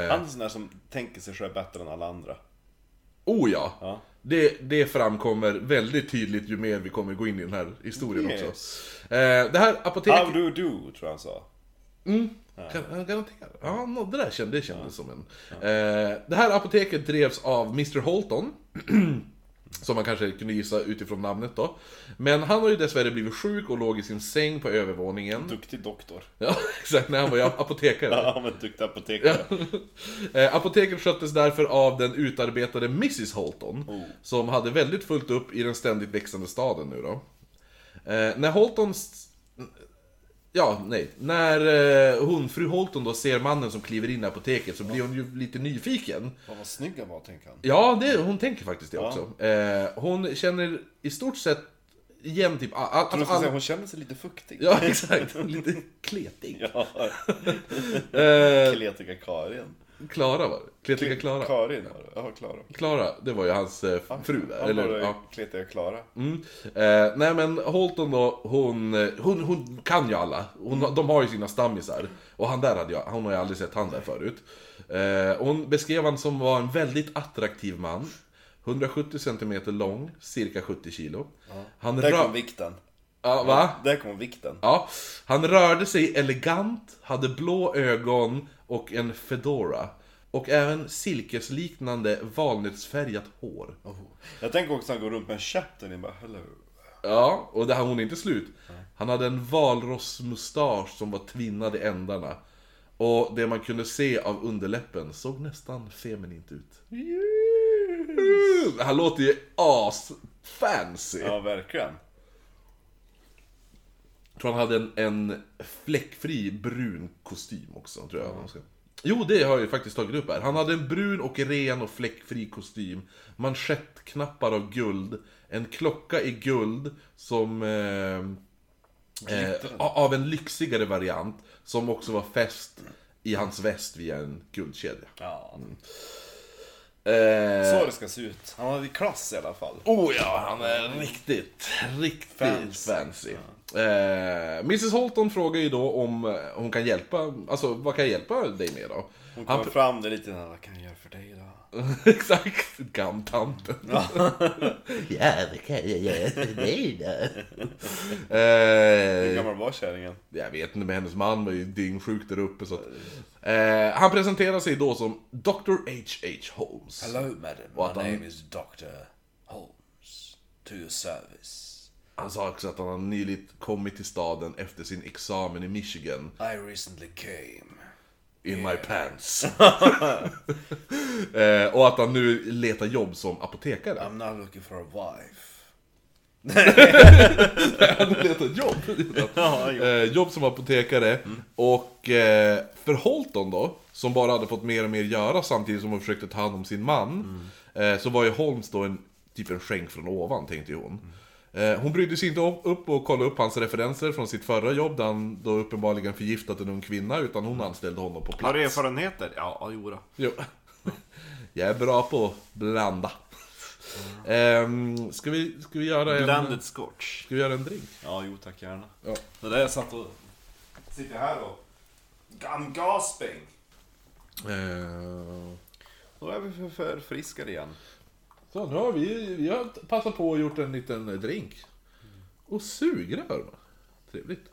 Eh,
Han är sån där som tänker sig själv bättre än alla andra.
oh ja,
Ja.
Det, det framkommer väldigt tydligt ju mer vi kommer gå in i den här historien också.
Yes.
Eh, det här apoteket...
How do do, tror jag han sa.
Kan, ja, garanterat. Ja, nå- det där kändes, det kändes som en... Eh, det här apoteket drevs av Mr Holton. [CLEARS THROAT] som man kanske kunde gissa utifrån namnet då. Men han har ju dessvärre blivit sjuk och låg i sin säng på övervåningen.
Duktig doktor. [LAUGHS]
Ja, [LAUGHS] exakt. När han var ju apotekare.
Ja, men duktig apotekare.
Eh, apoteket sköttes därför av den utarbetade Mrs Holton.
Oh.
Som hade väldigt fullt upp i den ständigt växande staden nu då. Eh, när Holtons... Ja, nej. När eh, hon, fru Holton då, ser mannen som kliver in i apoteket så blir hon ju lite nyfiken.
Fan vad snygg han var, tänker han.
Ja, det, hon tänker faktiskt det också. Eh, hon känner i stort sett igen typ... All, all,
Tror
alltså,
du ska säga,
all,
hon känner sig lite fuktig.
[LAUGHS]
[LAUGHS]
ja, exakt. Lite kletig.
Ja.
Eh,
Kletika Karin.
Klara var det. Kletiga Klara.
Karin var det. Ja, Klara.
Klara, det var ju hans eh, fru där,
Han
eller
var
hur? Ja.
det Kletiga Klara.
Mm. Eh, nej men Holton då, hon, eh, hon, hon kan ju alla. Hon, De har ju sina stammisar. Och han där hade jag, hon har ju aldrig sett han där förut. Eh, hon beskrev han som var en väldigt attraktiv man. 170 cm lång, cirka 70 kilo. Han,
Där kom
rör,
vikten.
ja, va?
Där kom vikten.
Ja. han rörde sig elegant, hade blå ögon och en fedora. Och även silkesliknande valnötsfärgat hår.
Oh.
Jag tänker också att han går runt med en käpp där inne bara, hello.
Ja, och det här hon är inte slut. Han hade en valrossmustasch som var tvinnad i ändarna. Och det man kunde se av underläppen såg nästan feminint ut. Han låter ju as-fancy.
Ja, verkligen.
Jag tror han hade en, en fläckfri brun kostym också, tror jag. Mm. Jo, det har jag ju faktiskt tagit upp här. Han hade en brun och ren och fläckfri kostym. Manschettknappar av guld. En klocka i guld som... Eh, eh, av en lyxigare variant. Som också var fäst i hans väst via en guldkedja.
Ja.
Eh,
Så det ska se ut. Han hade klass i alla fall.
Oh ja, han är riktigt, riktigt fancy.
Fancy.
Eh, Mrs Holton frågar ju då om eh, hon kan hjälpa, alltså vad kan jag hjälpa dig med då?
Hon
Han
kommer fram där lite, vad kan jag göra för dig
Eh.
då?
[LAUGHS] Exakt, gammtanten.
Ja.
[LAUGHS] ja, det kan jag göra för dig då.
Hur
eh,
gammal var kärringen?
jag vet inte, men hennes man var ju dyngsjuk där uppe så att, eh, Han presenterar sig då som Dr. H.H. Holmes.
Hello, madam.
What
My
are-
name is Dr. Holmes. To your service.
Han sa också att han har nyligt kommit till staden efter sin examen i Michigan.
I recently came.
In my [LAUGHS] pants. eh, och att han nu letar jobb som apotekare.
I'm not looking for a wife.
Han letar jobb.
[LAUGHS] Ja, jo.
eh, jobb som apotekare. Och eh, för Holton då, som bara hade fått mer och mer göra samtidigt som hon försökte ta hand om sin man. Eh, så var ju Holmes då en, typ en skänk från ovan, tänkte ju hon. Eh, hon brydde sig inte om- upp och kolla upp hans referenser från sitt förra jobb, där han då uppenbarligen förgiftat en ung kvinna, utan hon anställde honom på plats.
Har du erfarenheter? Ja, jo då.
Jo. [LAUGHS] Jag är bra på att blanda. Ehm, ska, vi, ska vi göra en...
Blanded scotch.
Ska vi göra en drink?
Ja, jo tack gärna.
Ja.
Det där jag satt och... Sitter jag här och... I'm gasping!
Ehm,
Då är vi för, för friskare igen.
så nu har vi, vi har passat på och gjort en liten drink. Och sugrör. va? Trevligt.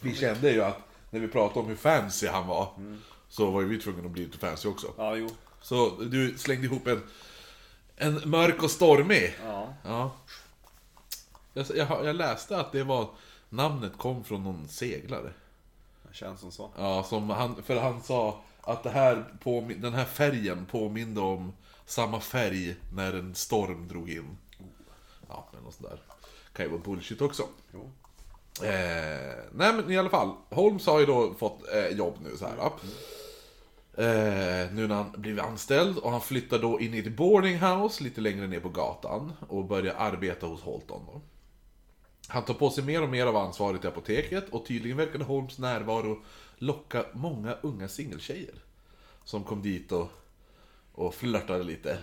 Vi kände ju att när vi pratade om hur fancy han var, så var ju vi tvungna att bli lite fancy också.
Ja, jo.
Så du slängde ihop en, en mörk och stormig.
Ja.
Ja. Jag, jag, jag läste att det var... Namnet kom från någon seglare.
Det känns som så.
Ja, som han, för han sa att det här på, den här färgen påminde om samma färg när en storm drog in. Ja, men något sånt där. Kan ju vara bullshit också.
Jo.
Eh, nej men i alla fall, Holmes har ju då fått eh, jobb nu så här. ja. Eh, nu när han blivit anställd och han flyttar då in i ett boarding house lite längre ner på gatan och börjar arbeta hos Holton då. Han tar på sig mer och mer av ansvaret i apoteket och tydligen verkade Holmes närvaro locka många unga singeltjejer. Som kom dit och, och flörtade lite.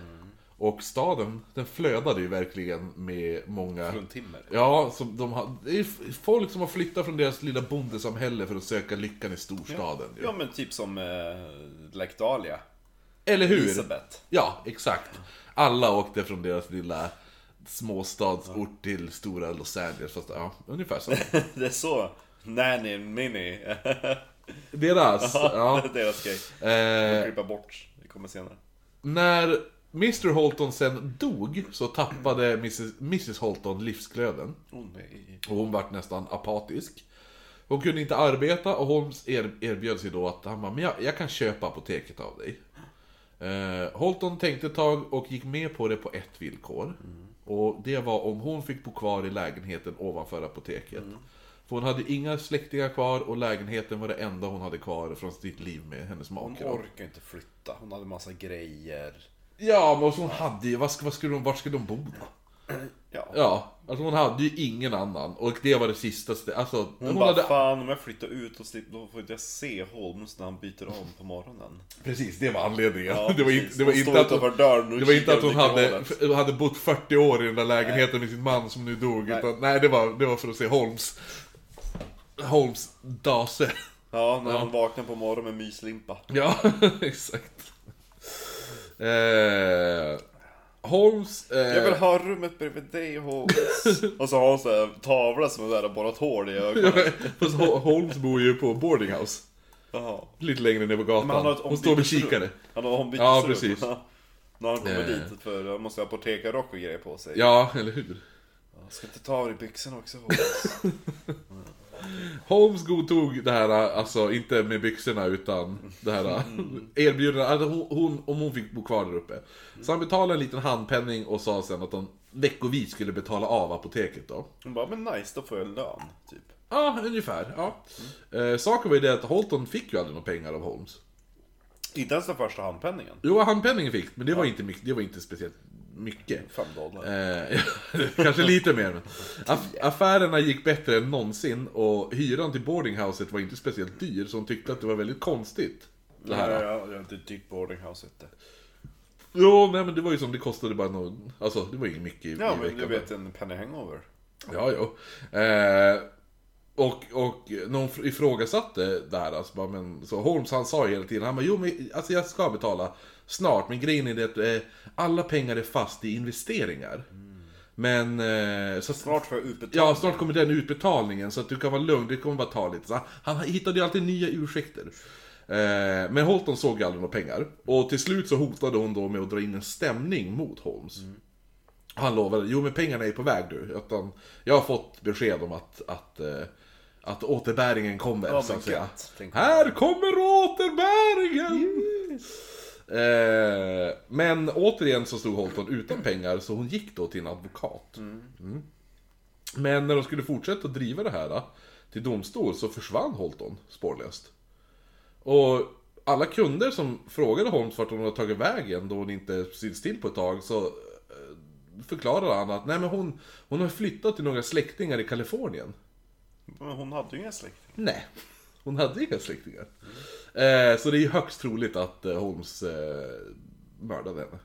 Och staden, den flödade ju verkligen med många...
Från timmer.
Ja, som de har, det är f- folk som har flyttat från deras lilla bondesamhälle för att söka lyckan i storstaden. ju.
Ja, men typ som eh, Lake Dahlia.
Eller hur?
Elisabeth.
Ja, exakt. Alla åkte från deras lilla småstadsort till stora Los Angeles. Fast, ja, ungefär
[LAUGHS]
så.
[LAUGHS] Det är så. Nanny Mini.
Deras, ja.
Det är [LAUGHS] deras grej.
Eh,
Klippa bort. Det kommer senare.
När Mr Holton sen dog så tappade Mrs, Mrs Holton livsglöden.
Oh, nej.
Och hon vart nästan apatisk. Hon kunde inte arbeta och Holmes er, erbjöd sig då att han bara, men jag, jag kan köpa apoteket av dig. Eh, Holton tänkte ett tag och gick med på det på ett villkor.
Mm.
Och det var om hon fick bo kvar i lägenheten ovanför apoteket.
Mm.
För hon hade inga släktingar kvar och lägenheten var det enda hon hade kvar från sitt liv med hennes
Hon
make. då.
orkar inte flytta. Hon hade massa grejer.
Ja, men alltså hon hade ju, vad ska- vad skulle de, vart skulle de bo då?
Ja.
Ja, alltså hon hade ju ingen annan och det var det sista ste- alltså, hon,
Hon, bara,
hade,
fan om jag flyttar ut och slipper, då får inte jag se Holmes när han byter om på morgonen.
Precis, det var anledningen.
Ja,
[LAUGHS] det var, in,
precis.
det var
Hon
inte
står
att hon,
utanför dörren och
det var inte
kikar
att hon
åt
hade,
mikrofonen.
f- hade bott 40 år i den där lägenheten med sin man som nu dog.
Nej.
Utan, nej, det var, det var för att se Holmes. Holmes dase. [LAUGHS]
Ja, när han vaknar på morgonen med myslimpa.
Ja, [LAUGHS] exakt. Eh, Holmes... Eh,
Jag vill ha rummet bredvid dig Holmes.
[LAUGHS]
och så har hon så här tavla som är där och borrat hål i
ja,
ögonen.
men- [LAUGHS] fast Hol- Holmes bor ju på boarding house.
Jaha.
Lite längre ner på
Men han har
gatan.
ett
Hon står med
ombytesrum.
kikare.
Han har ombytesrum.
Ja, precis.
När han kommer
Eh.
dit, för han måste ha apotekarrock och grejer på sig.
Ja, eller hur?
Jag ska inte ta av dig byxorna också.
Holmes godtog det här, alltså inte med byxorna utan det här erbjudandet, alltså hon, hon, om hon fick bo kvar där uppe. Så han betalade en liten handpenning och sa sen att de veckovis skulle betala av apoteket då.
Hon bara, men nice, då får jag lön. Typ.
Ja, ungefär. Ja. Eh, saken var ju det att Holton fick ju aldrig några pengar av Holmes.
Inte ens den första handpenningen.
Jo, handpenningen fick, men det var inte, mycket, det var inte speciellt mycket.
Fem dollar.
Eh, [LAUGHS] kanske lite mer. Men. Aff- affärerna gick bättre än någonsin och hyran till boardinghouset var inte speciellt dyr, så hon tyckte att det var väldigt konstigt. Det här.
Ja, ja, ja, det är ett dyrt boardinghouse ute.
Jo, nej men det var ju som det kostade bara någon, alltså det var ju inget mycket i,
Ja,
i
men
veckan.
du vet en penny hangover.
Ja, jo. Eh, och, och någon ifrågasatte det här, alltså, bara, men, så Holmes han sa ju hela tiden, han bara, jo men alltså, jag ska betala snart, men grejen är det att eh, alla pengar är fast i investeringar.
Mm.
Men, eh, så
Snart får jag utbetalt.
Ja, snart kommer den utbetalningen så att du kan vara lugn, det kommer bara ta lite. Så han, han hittade ju alltid nya ursäkter. Eh, men Holton såg ju aldrig några pengar. Och till slut så hotade hon då med att dra in en stämning mot Holmes. Han lovade, jo men pengarna är på väg du. Utan jag har fått besked om att, att, eh, att återbäringen kommer.
Ja,
så
men
att säga.
gött. Tänk på det.
Här kommer återbäringen! Eh, men återigen så stod Holton utan pengar så hon gick då till en advokat.
Mm.
Mm. Men när de skulle fortsätta driva det här eh, till domstol så försvann Holton spårlöst. Och alla kunder som frågade Holmes vart hon hade tagit vägen då hon inte synts till på ett tag så eh, förklarade han att nej men hon, hon har flyttat till några släktingar i Kalifornien.
Men hon hade ju inga släktingar.
Nej, hon hade inga släktingar. Eh, så det är ju högst troligt att eh, Holmes eh, mördade henne.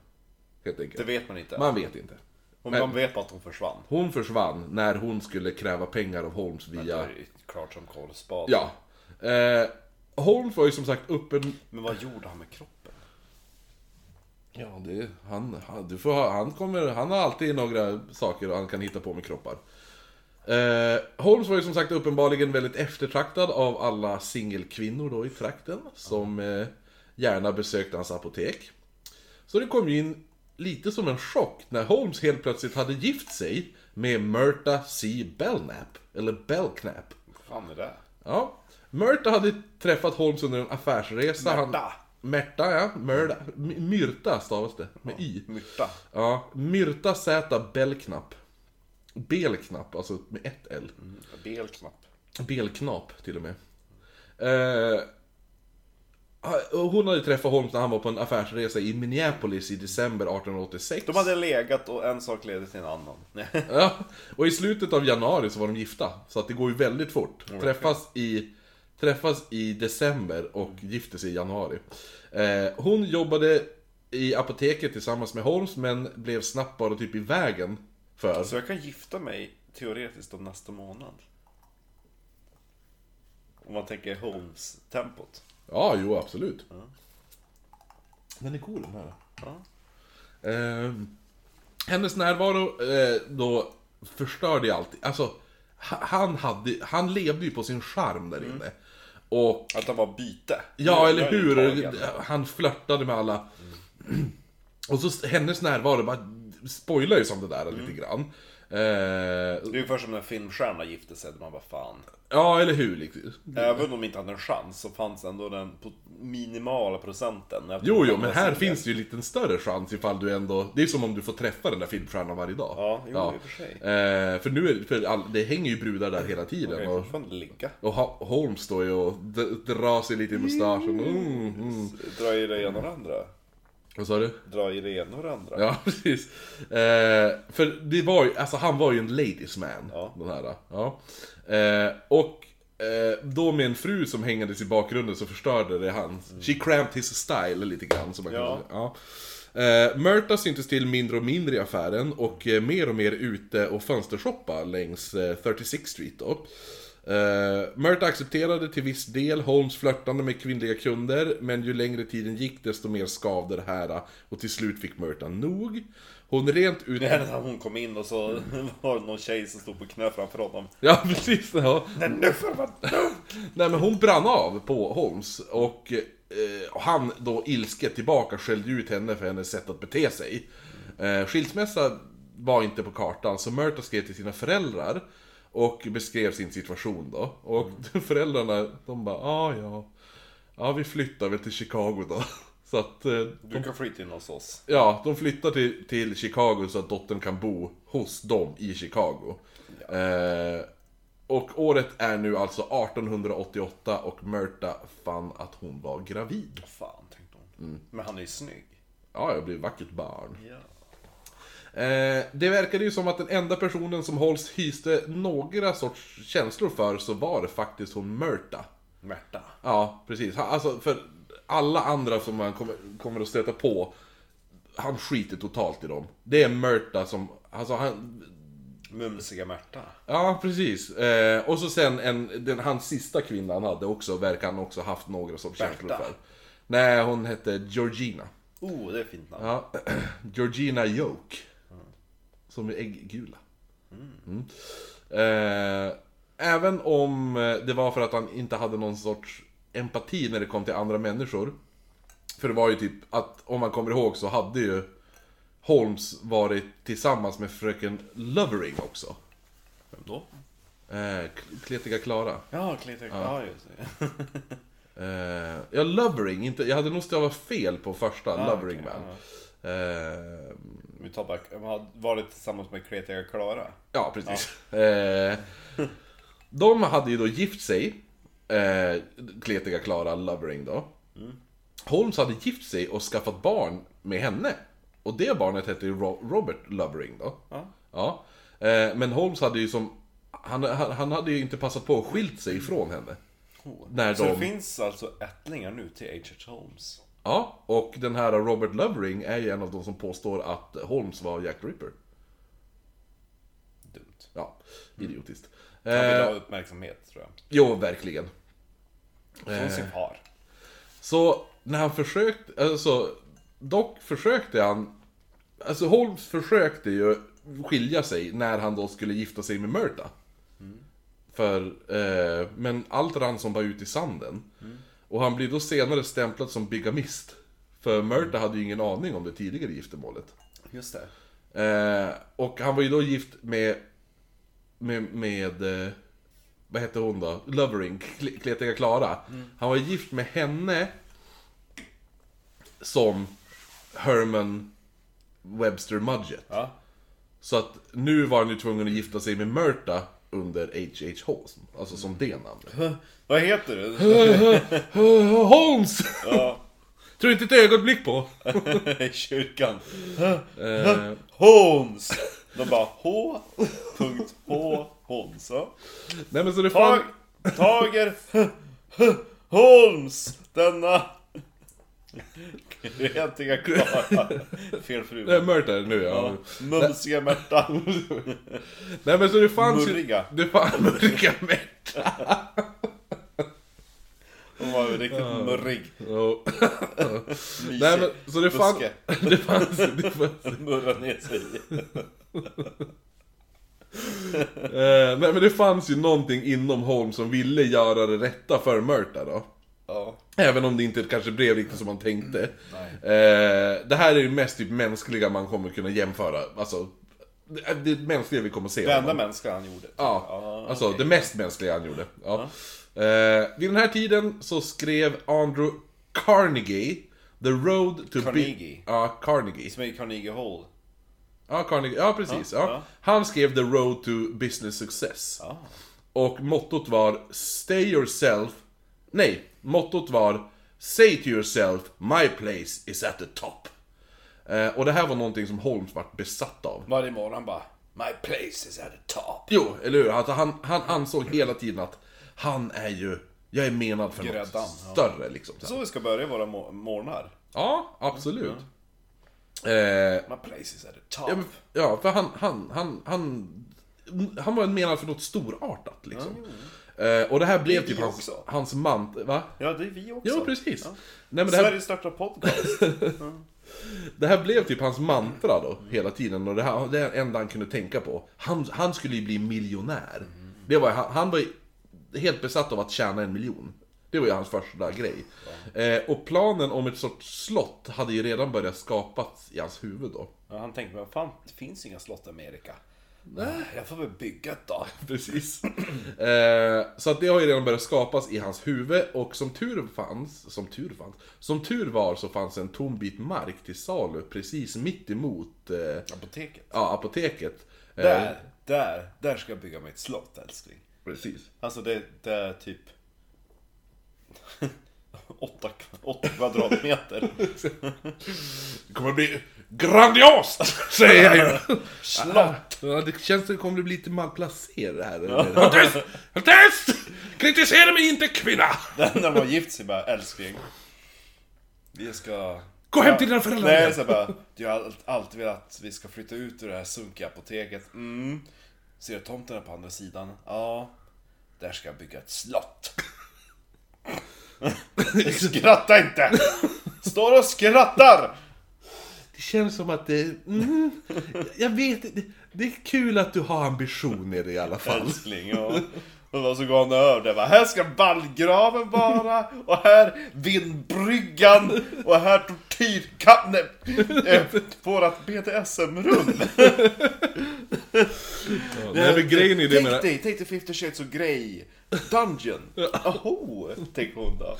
Helt
Det
enkelt.
vet man inte.
Man vet inte.
Hon,
men-
man vet bara att hon försvann.
Hon försvann när hon skulle kräva pengar av Holmes
Men det
via...
är ju klart som kolspad.
Ja. Eh, Holmes var ju som sagt öppen...
Men vad gjorde han med kroppen?
Ja, det, han, han, du får, ha- han, kommer, han har alltid några saker han kan hitta på med kroppar. Eh, Holmes var ju som sagt uppenbarligen väldigt eftertraktad av alla singelkvinnor då i trakten som eh, gärna besökte hans apotek. Så det kom ju in lite som en chock när Holmes helt plötsligt hade gift sig med Myrta C. Belknap, eller Belknap.
Vad fan är det?
Ja. Myrta hade träffat Holmes under en affärsresa.
Märta.
Han, Märta, ja. Myrta, M- Myrta stavas det, med i.
Myrta.
Ja, Myrta Z Belknapp. Belknapp, alltså med ett L.
Mm. Belknapp.
Belknap till och med. Eh, ah, och hon hade träffat Holmes när han var på en affärsresa i Minneapolis i december 1886.
De hade legat och en sak ledde till en annan. [LAUGHS] Nej.
Ja, och i slutet av januari så var de gifta. Så att det går ju väldigt fort. Träffas i, träffas i december och gifter sig i januari. Eh, hon jobbade i apoteket tillsammans med Holmes men blev snabbt bara typ i vägen för...
Så jag kan gifta mig teoretiskt om nästa månad. Om man tänker Holmes-tempot.
Ja, jo absolut. Den är cool den här.
Ja.
Eh, hennes närvaro eh, då förstörde ju allt. Alltså, ha- han, hade, han levde ju på sin charm där inne. Och
Att han var byte.
Ja, eller
Jag är ju
hur? Eh,
tagen.
Han flörtade med alla. Och så hennes närvaro bara spoilar ju som det där
Mm.
lite grann. Eh,
Det är ungefär som när en filmstjärna gifte sig, där man bara fan.
ja, eller hur? liksom.
Även om de inte hade en chans så fanns ändå den po- minimala procenten. Jag tror
Jo, jo,
att
men
det
här
var så-
finns det ju en liten större chans ifall du ändå... Det är som om du får träffa den där filmstjärnan varje dag.
Ja, jo, i och för sig.
Eh, för nu är det, för all, det hänger ju brudar där hela tiden.
Jag kan
Och,
fortfarande ligga.
och Ha- Holmes står ju och d- drar sig lite i mustaschen. Mm, mm.
Dra i det ena och det andra.
Vad sa du?
Dra i det ena och det andra.
Ja, [LAUGHS] precis. Eh, för det var ju, alltså han var ju en ladies man,
Ja.
den här. Ja. Eh, och eh, då med en fru som hängdes i bakgrunden så förstörde det hans... She cramped his style lite grann, som man kan
Mm. Ja.
säga. Ja. Eh, Myrta syntes till mindre och mindre i affären och eh, mer och mer ute och fönstershoppa längs eh, 36 Street då. Eh, Myrta accepterade till viss del Holmes flörtande med kvinnliga kunder men ju längre tiden gick desto mer skavde det här eh, och till slut fick Myrta nog. Hon rent ut...
Det hände att hon kom in och så [LAUGHS] var det någon tjej som stod på knä framför honom.
Ja, precis. Ja.
Nej nu får det vara nog!
Nej men hon brann av på Holmes och eh, och han då ilsket tillbaka skällde ut henne för hennes sätt att bete sig. Eh, skilsmässa var inte på kartan. Så Murta skrev till sina föräldrar och beskrev sin situation då. Och [LAUGHS] föräldrarna, de bara ah, ja, ja vi flyttar väl till Chicago då. [LAUGHS] Så att eh,
Du kan flytta in hos oss.
Ja, de flyttar till, till Chicago så att dottern kan bo hos dem i Chicago. Eh, och året är nu alltså 1888 och Märta fann att hon var gravid.
Fan, tänkte hon.
Mm.
Men han är ju snygg.
Ja, jag blev vackert barn.
Ja.
Eh, det verkade ju som att den enda personen som Holst hyste några sorts känslor för så var det faktiskt hon Märta.
Märta.
Ja, precis. Han- Alltså, för alla andra som man kommer, kommer att stöta på, han skiter totalt i dem. Det är Märta som, alltså han,
Mumsiga Märta.
ja precis. Eh, och så sen en, den, hans sista kvinna han hade också, verkar han också haft några sorts
Berta.
känslor för. Nej, hon hette Georgina.
Oh, det är fint namn.
Ja, [CLEARS THROAT] Georgina Joke. Som är ägggula. Mm. Eh, även om eh, det var för att han inte hade någon sorts empati när det kom till andra människor. För det var ju typ att, om man kommer ihåg så hade ju Holmes varit tillsammans med fröken Lovering också.
Vem då?
Eh, Kletiga Klara.
Ja, Clayton. Ja, just det.
Eh, ja, Lovering, inte, jag hade nog stavat fel på första, Lovering
Ah, okej,
Man. Eh,
Vi tar bara, jag har varit tillsammans med Kretiga Klara.
Ja, precis. Eh, de hade ju då gift sig, eh, Kletiga Klara Lovering då.
Mm.
Holmes hade gift sig och skaffat barn med henne. Och det barnet hette ju Ro- Robert Lovering då.
Ja.
Ja. Eh, men Holmes hade ju som, han, han, han hade ju inte passat på att skilt sig ifrån henne. När
Så det
de,
finns alltså ättlingar nu till H.H. Holmes.
ja, och den här Robert Lovering är ju en av de som påstår att Holmes var Jack the Ripper.
Dumt.
Ja, idiotiskt.
Han vill
Eh,
ha uppmärksamhet tror jag.
jo, verkligen.
Från
Eh.
sin far.
Så när han försökte, alltså dock försökte han, alltså Holmes försökte ju skilja sig när han då skulle gifta sig med Myrta. För, eh, men allt rann som bara ut i sanden. Och han blir då senare stämplad som bigamist. För Myrta hade ju ingen aning om det tidigare giftermålet.
Just det.
Eh, och han var ju då gift med, med, med eh, vad hette hon då? Lovering, Kle- Kletiga Klara.
Mm.
Han var gift med henne som Herman Webster Mudgett.
Ja.
Så att nu var han ju tvungen att gifta sig med Myrta under H.H. Holmes, alltså som det namnet.
Vad heter du?
Holmes! [LAUGHS]
ja, [LAUGHS]
Tror inte ett ögonblick på.
i kyrkan.
Eh,
Holmes! De bara H. Punkt H. Holmes. Ja.
nej men så det
Tag,
fan...
tager Holmes! Denna... Kretiga Klara. Fel
Nej,
fru.
Eh, Myrta är det nu ja.
Ja. Mumsiga Märta.
Nej men så det fanns ju...
Murriga.
Det fanns... [LAUGHS] Murriga Märta.
Hon var ju riktigt murrig.
Ja.
Mysig.
Nej, men, så det, fann,
Buske.
[LAUGHS] det, fanns, det
[LAUGHS]
fanns...
Murra ner sig i.
Eh, nej men det fanns ju någonting inom Holmes som ville göra det rätta för Murta då.
Ja.
Även om det inte kanske blev riktigt som man tänkte.
Mm.
Eh, det här är ju mest typ mänskliga man kommer kunna jämföra. Alltså, det, det mänskliga vi kommer se.
Det enda Ah, mänskliga han gjorde.
Ja, alltså det mest mänskliga han gjorde. Ja.
Ah.
Eh, vid den här tiden så skrev Andrew Carnegie The Road to Be-
Carnegie.
Ja, Carnegie.
Som är i Carnegie Hall.
Ja, Carnegie. Ja, precis. Ja,
Ja, ja. Ah.
Han skrev The Road to Business Success.
Ja.
Och mottot var Stay yourself... Nej, mottot var Say to yourself, my place is at the top. Eh, och det här var någonting som Holmes vart besatt av.
Varje morgon bara My place is at the top.
Jo, eller hur? Alltså, han, han ansåg hela tiden att han är ju... Jag är menad för
Gräddan,
något
ja.
större liksom. Så här.
Så vi ska börja våra mo- morgnar.
Ja, absolut. Eh,
My place is at the top.
Ja, men, ja för han, han, han, han, han var menad för något storartat liksom. Eh, och det här blev
Det är
typ
vi
hans,
också.
hans mant... Va?
Ja, det är vi också.
Ja, precis.
Ja.
Nej, men det, här,
Sverige startar
[LAUGHS]
podcast.
det här blev typ hans mantra då,
Mm.
hela tiden. Och det här det är det enda han kunde tänka på. Han, han skulle ju bli miljonär. Det var, ju- han, han var ju helt besatt av att tjäna en miljon. Det var ju hans första grej. Eh, och planen om ett sorts slott hade ju redan börjat skapas i hans huvud då.
Ja, han tänkte, men fan.
Det finns inga slott i Amerika. Nej. Jag får väl bygga ett då.
[LAUGHS] Precis. Eh, så att det har ju redan börjat skapas i hans huvud och som tur fanns, som tur fanns, som tur var så fanns en tom bit mark till salu precis mitt emot eh,
Apoteket.
ja, apoteket. Eh,
Där, där, där ska jag bygga mig ett slott älskling.
Precis.
Alltså det, det är typ... [LAUGHS] åtta, kva- åtta kvadratmeter.
Det kommer bli grandiost, [LAUGHS] säger jag ju.
Slott!
Ja, det känns som det kommer bli lite malplacerat här. Håll tyst! Håll tyst! Kritisera mig inte kvinna!
Där när man gift sig bara, älskling. Vi ska...
Gå hem till dina föräldrar
Nej,
igen.
så bara, du har all- alltid velat att vi ska flytta ut ur det här sunkiga apoteket. Mm.
Ser du tomten här på andra sidan? Ja. Där ska jag bygga ett
[LAUGHS]
slott.
Skratta inte! Står och skrattar!
Det känns som att det... Mm, jag vet inte. Det är kul att du har ambitioner i alla fall.
Älskling, ja. Och då så går han över där bara, här ska vallgraven vara, och här vindbryggan, och här tortyrkammaren. Eh, vårat BDSM-rum.
Alltså, Nej men grejen är det
Tänk
med det
dig, tänk dig 50 shades of Grey Dungeon. Aho, tänk hon då.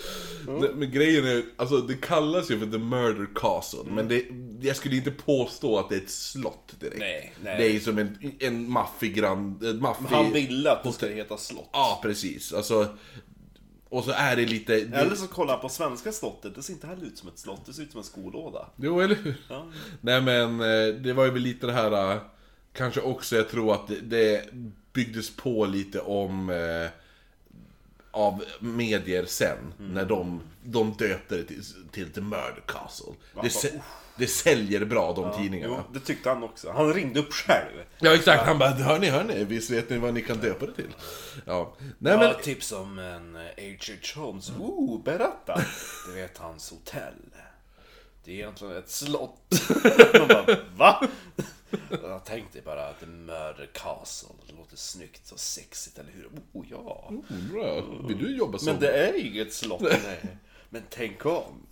Nej, Men grejen är, alltså det kallas ju för The Murder Castle, men det, jag skulle inte påstå att det är ett slott direkt.
Nej, nej.
Det är ju som en, en maffig grand... En maffig...
Han ville att det skulle heta slott.
Ja, precis. Alltså... Och så är det lite...
Eller så kollar han på svenska slottet, det ser inte heller ut som ett slott, det ser ut som en skolåda.
Jo, eller hur? Nej men, eh, det var ju väl lite det här... eh, Kanske också, jag tror att det, det byggdes på lite om... Eh, av medier sen, när de, de döpte det till, till The Murder Castle. Det, sä- det säljer bra, de
Jo,
tidningarna.
det tyckte han också. Han ringde upp själv.
Ja, exakt. Han bara, hörni, hörni, visst vet ni vad ni kan döpa det till? Ja. Nej men,
Ja, tips om en eh, H.H. Holmes.
Oh, berätta!
Du vet hans hotell. Det är egentligen ett slott. [LAUGHS]
De bara, va?
Jag tänkte bara att Murder Castle det låter snyggt och sexigt, eller hur? Oh ja.
bra. Vill du jobba som?
Men det är ju inget slott.
Nej. Men tänk om.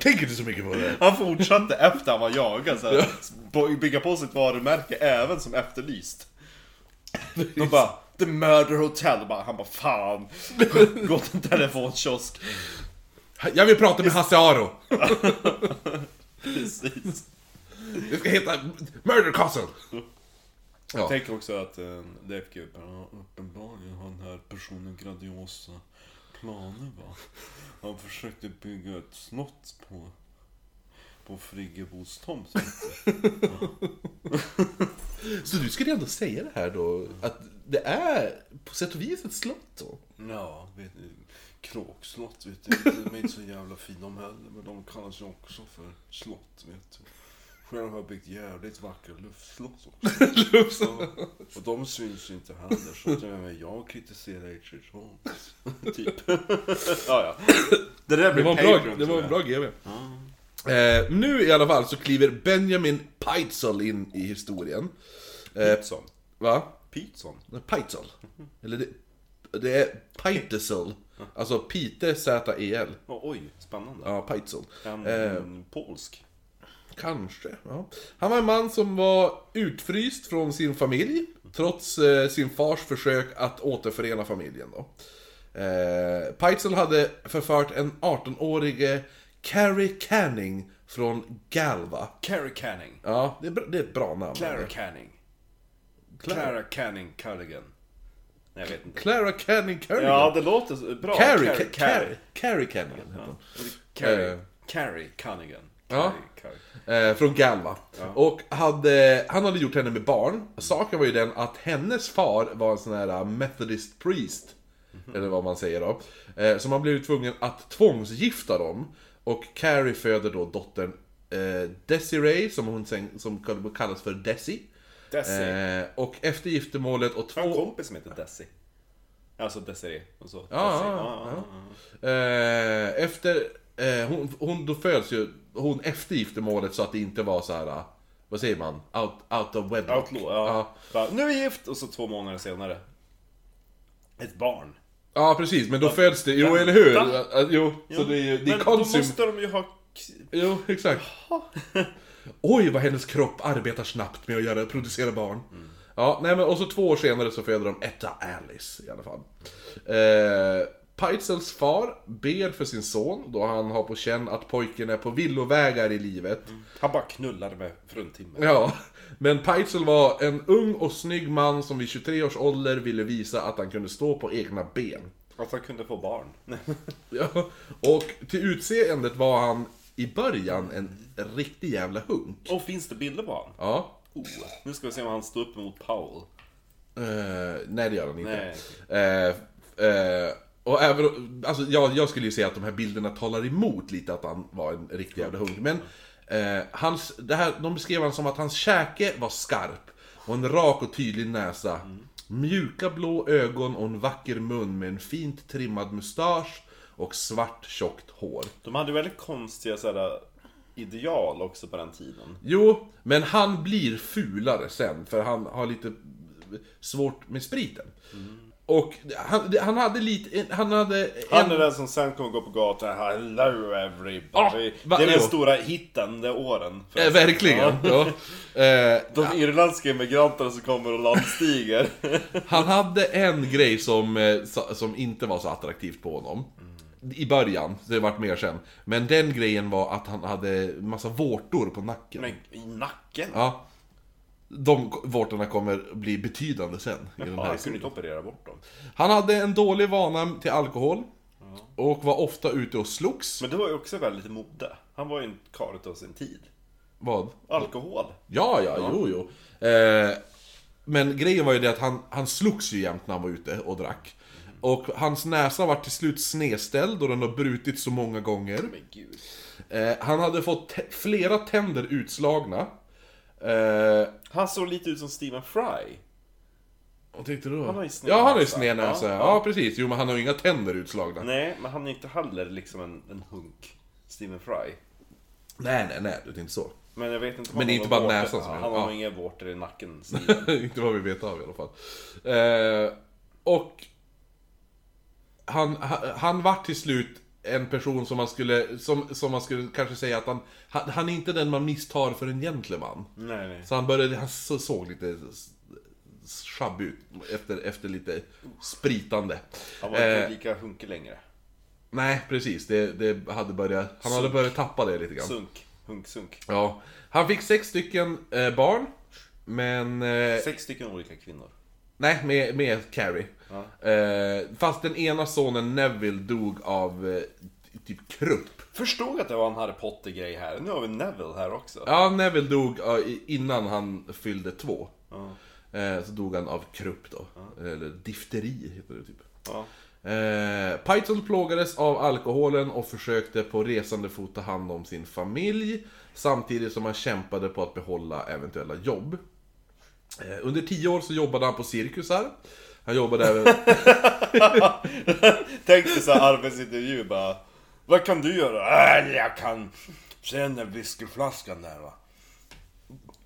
Tänker inte så mycket på det.
Han fortsatte efter han var jagad så här, bo- bygga på sitt varumärke även som efterlyst. De bara, The Murder Hotel. Och Bara, han bara,
[LAUGHS]
fan. Gå till en telefonkiosk.
Jag vill prata med Hasse Aro.
Precis.
Det ska heta Murder Castle. Ja.
Tänk också att eh, Leif GW ja, uppenbarligen har den här personen grandiosa planer va. Han försökte bygga ett slott på, på Friggebos tomt.
Så du skulle ändå säga det här då, att det är på sätt och vis ett slott då?
Ja.
Vet ni, Kråkslott vet du, de är inte så jävla fina de heller, men de kallas ju också för slott vet du. Själv har jag byggt jävligt vackra luftslott [LAUGHS] också. Ja, Och de syns ju inte heller, så att även jag kritiserar H.H. Holmes. [LAUGHS] Typ. ja, ja. Det där
Det
blir
var en bra,
Patreon
det var
tror
en
jag.
bra GV. Eh, nu i alla fall så kliver Benjamin Peitzl in i historien.
Pizzon.
Va?
Pizzon.
Peitzl. Eller det, det är Peitesel. Alltså Pite Z-E-L.
Ja, oj, spännande.
Ja, Peitzl.
En, en polsk.
Kanske. Ja. Han var en man som var utfryst från sin familj, trots eh, sin fars försök att återförena familjen. Då. Eh, Peitzel hade förfört en 18-årige Carrie Canning från Galva.
Carrie Canning.
Ja, det är, bra- det är ett bra namn.
Clara Canning. Clara Canning Culligan.
Nej, jag vet inte.
Clara Canning Carrigan.
Ja, det låter så bra.
Carrie,
Carrie,
Carrie, Carrie, Carrie Canning heter hon.
Carrie,
Eh.
Carrie Cunningham.
Ja.
Carrie, Carrie.
Eh, från Galva. Och hade, han hade gjort henne med barn. Saken var ju den att hennes far var en sån här eh, methodist priest. Eller vad man säger då. Eh, så man blev ju tvungen att tvångsgifta dem. Och Carrie föder då dottern eh, Desiree, som hon sen, som kallas för Desi.
Desi.
Eh, och efter giftermålet och två...
Jag har en kompis som heter Desi. Alltså Desiree och så.
Ja,
Desi.
ja, ja. Eh, efter... Eh, hon, hon, då föds ju hon efter giftermålet så att det inte var så här. eh, Vad säger man? Out, out of wedlock.
Outlaw, ja. Bara, nu är vi gift! Och så två månader senare. Ett barn.
Ja, precis. Men då föds det. Jo, eller hur?
Va?
Ja, ja, Jo, så det är ju... Det är
Men då
konsum...
måste de ju ha...
Jo, exakt. Oj, vad hennes kropp arbetar snabbt med att göra, producera barn. Ja, nej men och så två år senare så föder de Etta Alice i alla fall. Eh, Pizels far ber för sin son då han har på känn att pojken är på villovägar i livet.
Mm.
Han bara knullar med fruntimmer.
Ja, men Peitzel var en ung och snygg man som vid 23 års ålder ville visa att han kunde stå på egna ben.
Att han kunde
[LAUGHS]
få barn.
Ja, och till utseendet var han i början en riktig jävla hunk.
Och finns det bilder på honom?
Ja,
Oh. Nu ska vi se om han står upp mot Powell.
Eh, nej, det gör han inte.
Nej.
Eh, eh, och även, alltså, jag, jag skulle ju säga att de här bilderna talar emot lite att han var en riktig jävla hund. Men eh, hans, det här, de beskrev han som att hans käke var skarp och en rak och tydlig näsa. Mjuka blå ögon och en vacker mun med en fint trimmad mustasch och svart tjockt hår.
De hade väldigt konstiga sådär, ideal också på den tiden.
Jo, men han blir fulare sen för han har lite svårt med spriten. Och han, han hade lite, han hade
Mm. Han
en...
är den som sen kommer gå på gatan Hello everybody.
Ah, va-
det är den
jo.
stora hitten de åren.
Eh,
förresten.
verkligen. Ja. Eh,
De irländska immigranterna som kommer
[LAUGHS]
och landstiger.
han hade en grej som, eh, sa- som inte var så attraktivt på honom.
Mm.
I början, det vart mer sen. Men den grejen var att han hade massa vårtor på nacken.
Men i nacken?
Ja. De k- vårtorna kommer bli betydande sen. I den
Ja,
här
han kunde inte operera bort dem.
Han hade en dålig vana till alkohol. Och var ofta ute och slogs.
Men det var ju också väldigt mode. Han var ju en karl utav sin tid.
Vad?
Alkohol.
Ja, ja, jo, jo. Eh, men grejen var ju det att han, han slogs ju jämt när han var ute och drack. Och hans näsa var till slut snedställd och den har brutits så många gånger.
Men gud.
Eh, han hade fått te- flera tänder utslagna. Eh,
Han såg lite ut som Stephen Fry.
vad tänkte du då?
Han har ju sned
Ja, han har ju
näsa.
sned näsa. Ja,
Ja,
precis. Jo, men han har ju inga tänder utslagna. Nej,
Nej, men han är inte heller liksom en, en hunk. Stephen Fry.
nej, nej, det är inte så.
Men jag vet inte om
Men det är
han
inte
har
bara
vårtor-
näsan som
ja,
är-
Han har
ja.
nog inga vårtor i nacken,
[LAUGHS]
Stephen.
inte vad vi vet av i alla fall. Eh, och han, han, han var till slut en person som man skulle, som, som man skulle kanske säga att han, han, han är inte den man misstar för en gentleman.
Nej, nej.
Så han började, han så, såg lite s- s- sjabbig ut efter, efter lite spritande.
Han var inte
Eh,
lika hunkig längre.
nej, precis. Det, det hade börjat, han hade börjat tappa det lite grann.
Sunk. Hunk-sunk.
Ja. Han fick sex stycken eh, barn, men... eh,
Sex stycken olika kvinnor.
Nej, med, med Carrie. Eh, fast den ena sonen Neville dog av eh, typ krupp.
Förstod att det var en Harry Potter-grej här. Nu har vi Neville här också.
Ja, Neville dog ja, i- innan han fyllde två. Eh, så dog han av krupp då. Eller difteri heter det typ.
Ja.
Eh, Python plågades av alkoholen och försökte på resande fot ta hand om sin familj samtidigt som han kämpade på att behålla eventuella jobb. Eh, under tio år så jobbade han på cirkusar. Han jobbade även...
Tänk dig såhär arbetsintervju bara. Vad kan du göra? Äh, jag kan... Se den där whiskyflaskan där va.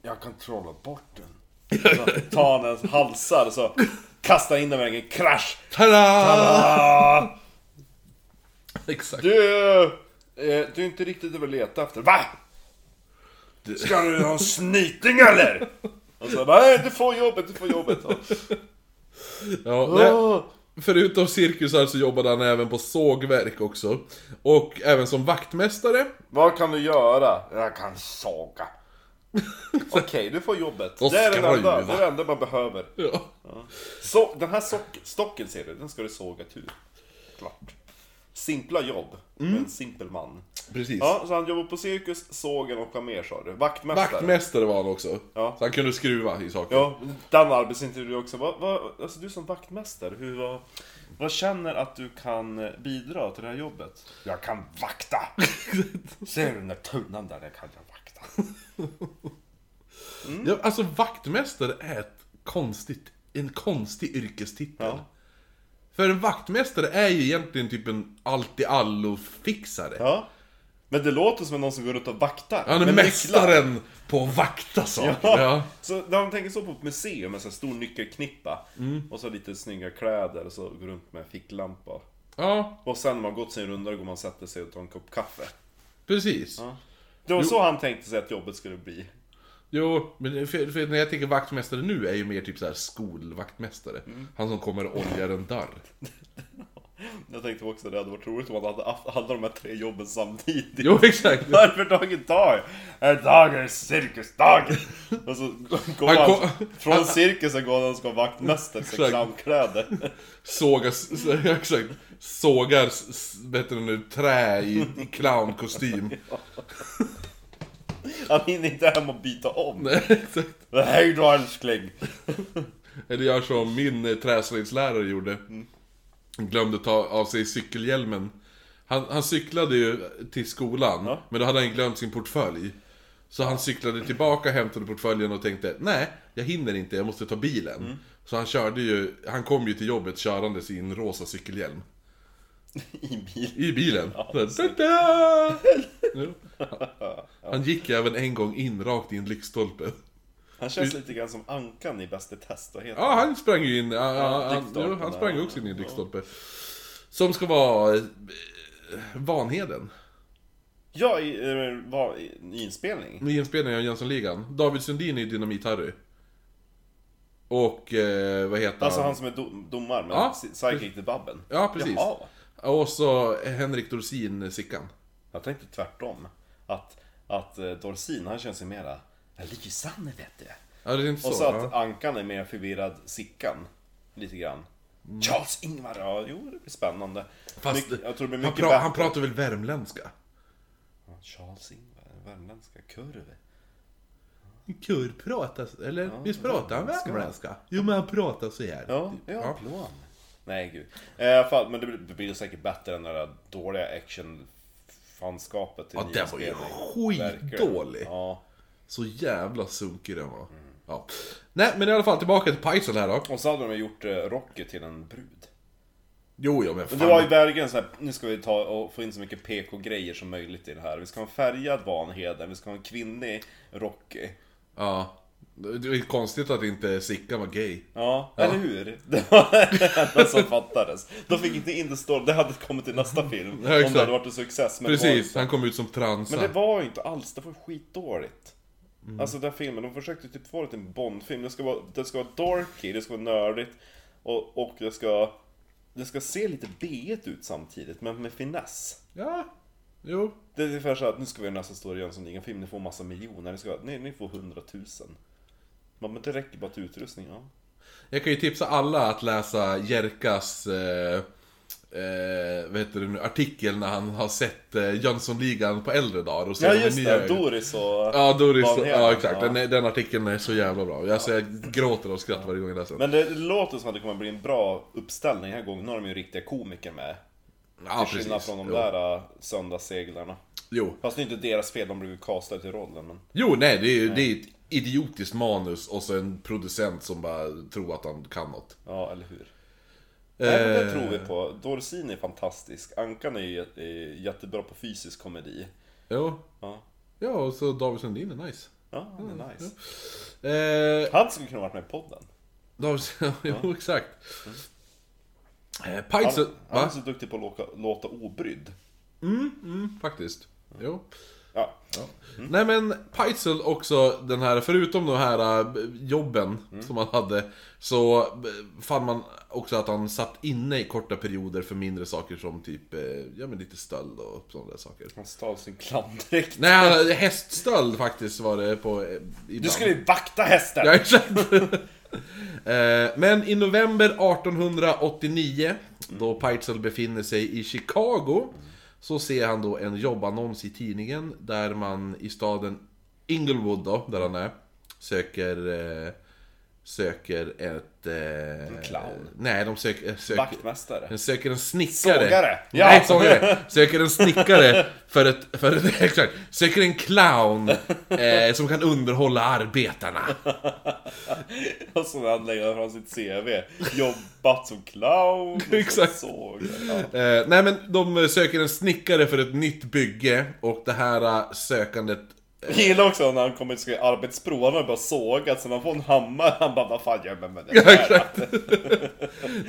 Jag kan trolla bort den. Så tar han ens halsar och så kastar in dem i väggen. Krasch!
Tada!
Ah,
Exakt.
du, eh, du är inte riktigt det vi letar efter. Va? Ska du ha en snyting eller? Och så bara, nej du får jobbet, du får jobbet. Ja.
Ja, nej, förutom cirkusar så jobbade han även på sågverk också. Och även som vaktmästare.
Vad kan du göra? Jag kan såga. Okej, du får jobbet.
Och
Det är, den enda, det
skruva.
är det enda man behöver.
Ja.
Så, den här sock, stocken ser du, den ska du såga tur. Klart. Simpla jobb, med en simpel man.
Precis.
Ja, så han jobbar på cirkus, sågen och vad mer sa du? Vaktmästare.
Vaktmästare var han också.
Ja.
Så han kunde skruva i saker.
Ja, den arbetsintervjun också. Vad, vad, alltså du som vaktmästare, hur, vad, vad känner att du kan eh, bidra till det här jobbet? Jag kan [LAUGHS] vakta! Ser du den där tunnan där? Jag kan jag vakta.
Ja, alltså vaktmästare är ett konstigt, en konstig yrkestitel.
Ja.
För en vaktmästare är ju egentligen typ en allt-i-allo-fixare.
Ja, Men det låter som någon som går runt och vaktar.
Han är
med nycklar.
mästaren på att vakta saker.
Ja.
Ja.
Så när de tänker så på ett museum, en sån här stor nyckelknippa. Och så lite snygga kläder och så går runt med ficklampa.
ja,
Och sen när man gått sin runda då går man och sätter sig och tar en kopp kaffe.
precis.
Det var så han tänkte sig att jobbet skulle bli.
Jo, men för, för när jag tänker vaktmästare nu är ju mer typ så här skolvaktmästare. Han som kommer och oljar en dörr.
Jag tänkte också att det hade varit roligt om han hade haft alla de här tre jobben samtidigt.
Jo, [LAUGHS] exakt.
[LAUGHS] Varför dagen dag? En dag är cirkusdagen! Och så går
Han
han,
kom-
från cirkusen går han och ska vara vaktmästare
Exakt.
till clownkläder.
Sågas, [LAUGHS] exakt. Sågar, s- s- vad heter det nu, trä i, i clownkostym. [LAUGHS]
Han hinner inte hem och byta om.
Nej, exakt.
Hej då älskling!
Eller gör som min eh, träslöjdslärare gjorde. Glömde ta av sig cykelhjälmen. Han, han cyklade ju till skolan,
Ja.
men då hade han glömt sin portfölj. Så han cyklade tillbaka, hämtade portföljen och tänkte Nej, jag hinner inte, jag måste ta bilen. Så han körde ju, han kom ju till jobbet körande sin rosa cykelhjälm.
I bil.
I bilen. Så här, "Ta-da!" Jo. Han gick ju även en gång in rakt i en lyktstolpe.
Han känns lite grann som Ankan i Bäst i test, vad heter
Ja, han sprang ju in. Ja, ja, han,
lyktstolpen
jo, han
där.
sprang ju också in i en lyktstolpe. Som ska vara eh, Vanheden.
Ja, i, eh, var, i, i inspelning.
Med inspelningen av Jönssonligan. David Sundin är ju Dynamit-Harry. Och eh, vad heter
Alltså
han?
han som är dom, domare med
Ja.
ja. Sidekick till Babben.
Ja, precis.
Jaha.
Och så Henrik Dorsin, Sickan.
Jag tänkte tvärtom. Att, att eh, Dorsin, han känns ju mera lysande vet du.
Ja, det är inte så.
Och så
ja.
att Ankan är mer förvirrad Sickan. Lite grann. Charles Ingvar, ja jo det blir spännande.
Mm. Fast
Mycket- jag tror det blir
han,
mycket
pra- han
battle.
pratar väl värmländska?
Charles Ingvar, värmländska kurv.
Kur pratas, eller visst pratar han värmländska? Jo men han pratar så här.
Ja, ja,
Ja.
plån. Nej gud. Eh, i alla fall, men det blir, det blir säkert bättre än det där dåliga action-fanskapet. i
Ja,
ny
den var ju
inspelning. Verkligen.
skitdålig.
Ja.
Så jävla sunkig den var. Ja. Nej men i alla fall tillbaka till Pajsel här då.
Och så hade de ju gjort eh, Rocky till en brud.
Jo ja men fan.
Men det var ju verkligen så här, nu ska vi ta och få in så mycket PK-grejer som möjligt i det här. Vi ska ha en färgad Vanheden, vi ska ha en kvinnlig Rocky.
Ja. Det är konstigt att inte Sickan var gay.
Ja, eller hur? [LAUGHS] Det var det enda som fattades. De fick inte in det story, det hade kommit
[LAUGHS]
till nästa film.
Ja, exakt.
om det hade varit en success. Men
Precis,
Det var,
han kom ut som transa.
men det var ju inte alls, det var skitdåligt.
Mm.
Alltså den här filmen, de försökte typ få det till en Bond-film. Det ska vara, det ska vara dorky, det ska vara nördigt och, och det ska... Det ska se lite B E ut samtidigt, men med finess.
Ja. Jo.
Det är ungefär så att nu ska vi göra nästa stora Jönssonligan-film, ni får massa miljoner, ni, ska, ni, ni får hundratusen. Men men det räcker bara till utrustning, ja.
Jag kan ju tipsa alla att läsa Jerkas eh, eh, vad heter det nu, artikel när han har sett eh, Jönssonligan på äldre dagar och ser
Ja
de här
just
nya
det, eh, Doris och...
Ja, Doris,
Vanheden,
ja exakt.
ja.
Den, är- den artikeln är så jävla bra. Alltså, jag gråter av skratt varje gång jag läser den.
Men det, det låter som att det kommer bli en bra uppställning den här gången, nu har de ju riktiga komiker med.
Ja,
Till skillnad från de
Jo.
där äh, söndagsseglarna.
Jo.
Fast det är inte deras fel, de blev ju castade till rollen. Men...
jo, nej det är, ju- det är ett idiotiskt manus och så en producent som bara tror att han kan något.
Ja, eller hur? Nej, men det tror vi på. Dorsin är fantastisk, Ankan är ju jä- är jättebra på fysisk komedi.
Jo.
Ja,
Ja, och så David Sundin är nice.
ja han är nice.
Eh,
Han skulle kunna varit med i podden.
David, [LAUGHS] jo, exakt. Eh, Pajtsen,
Han, han är
va?
så duktig på att låta, låta obrydd.
Mm, faktiskt. Jo.
Ja.
Nej men Peitzel också, den här, förutom de här eh, jobben som han hade Så eh, fann man också att han satt inne i korta perioder för mindre saker som typ, eh, ja men lite stöld och sådana där saker
Han stal sin klamdräkt.
Nej, han- häststöld faktiskt var det på... eh,
Du
ibland.
skulle ju vakta hästen!
Ja, exakt. [LAUGHS] Eh, Men i november 1889, då Peitzel befinner sig i Chicago, så ser han då en jobbannons i tidningen där man i staden Inglewood då, där han är, söker eh, söker ett... Eh,
En clown.
Nej, de eh, söker... söker
Vaktmästare.
de söker en snickare.
Sågare. Ja.
Nej,
[LAUGHS]
sågare. Söker en snickare för ett... För ett [LAUGHS] exakt. Söker en clown eh, som kan underhålla arbetarna.
Och som han lägger fram sitt CV. Jobbat som clown. och som
Exakt.
sågare. Ja.
Eh, nej men de söker en snickare för ett nytt bygge och det här eh, sökandet... [LAUGHS]
Jag gillar också när han kommer till arbetsprov, han har bara sågat, sen han får en hammare, han bara vad fan gör man med det här?
Exakt.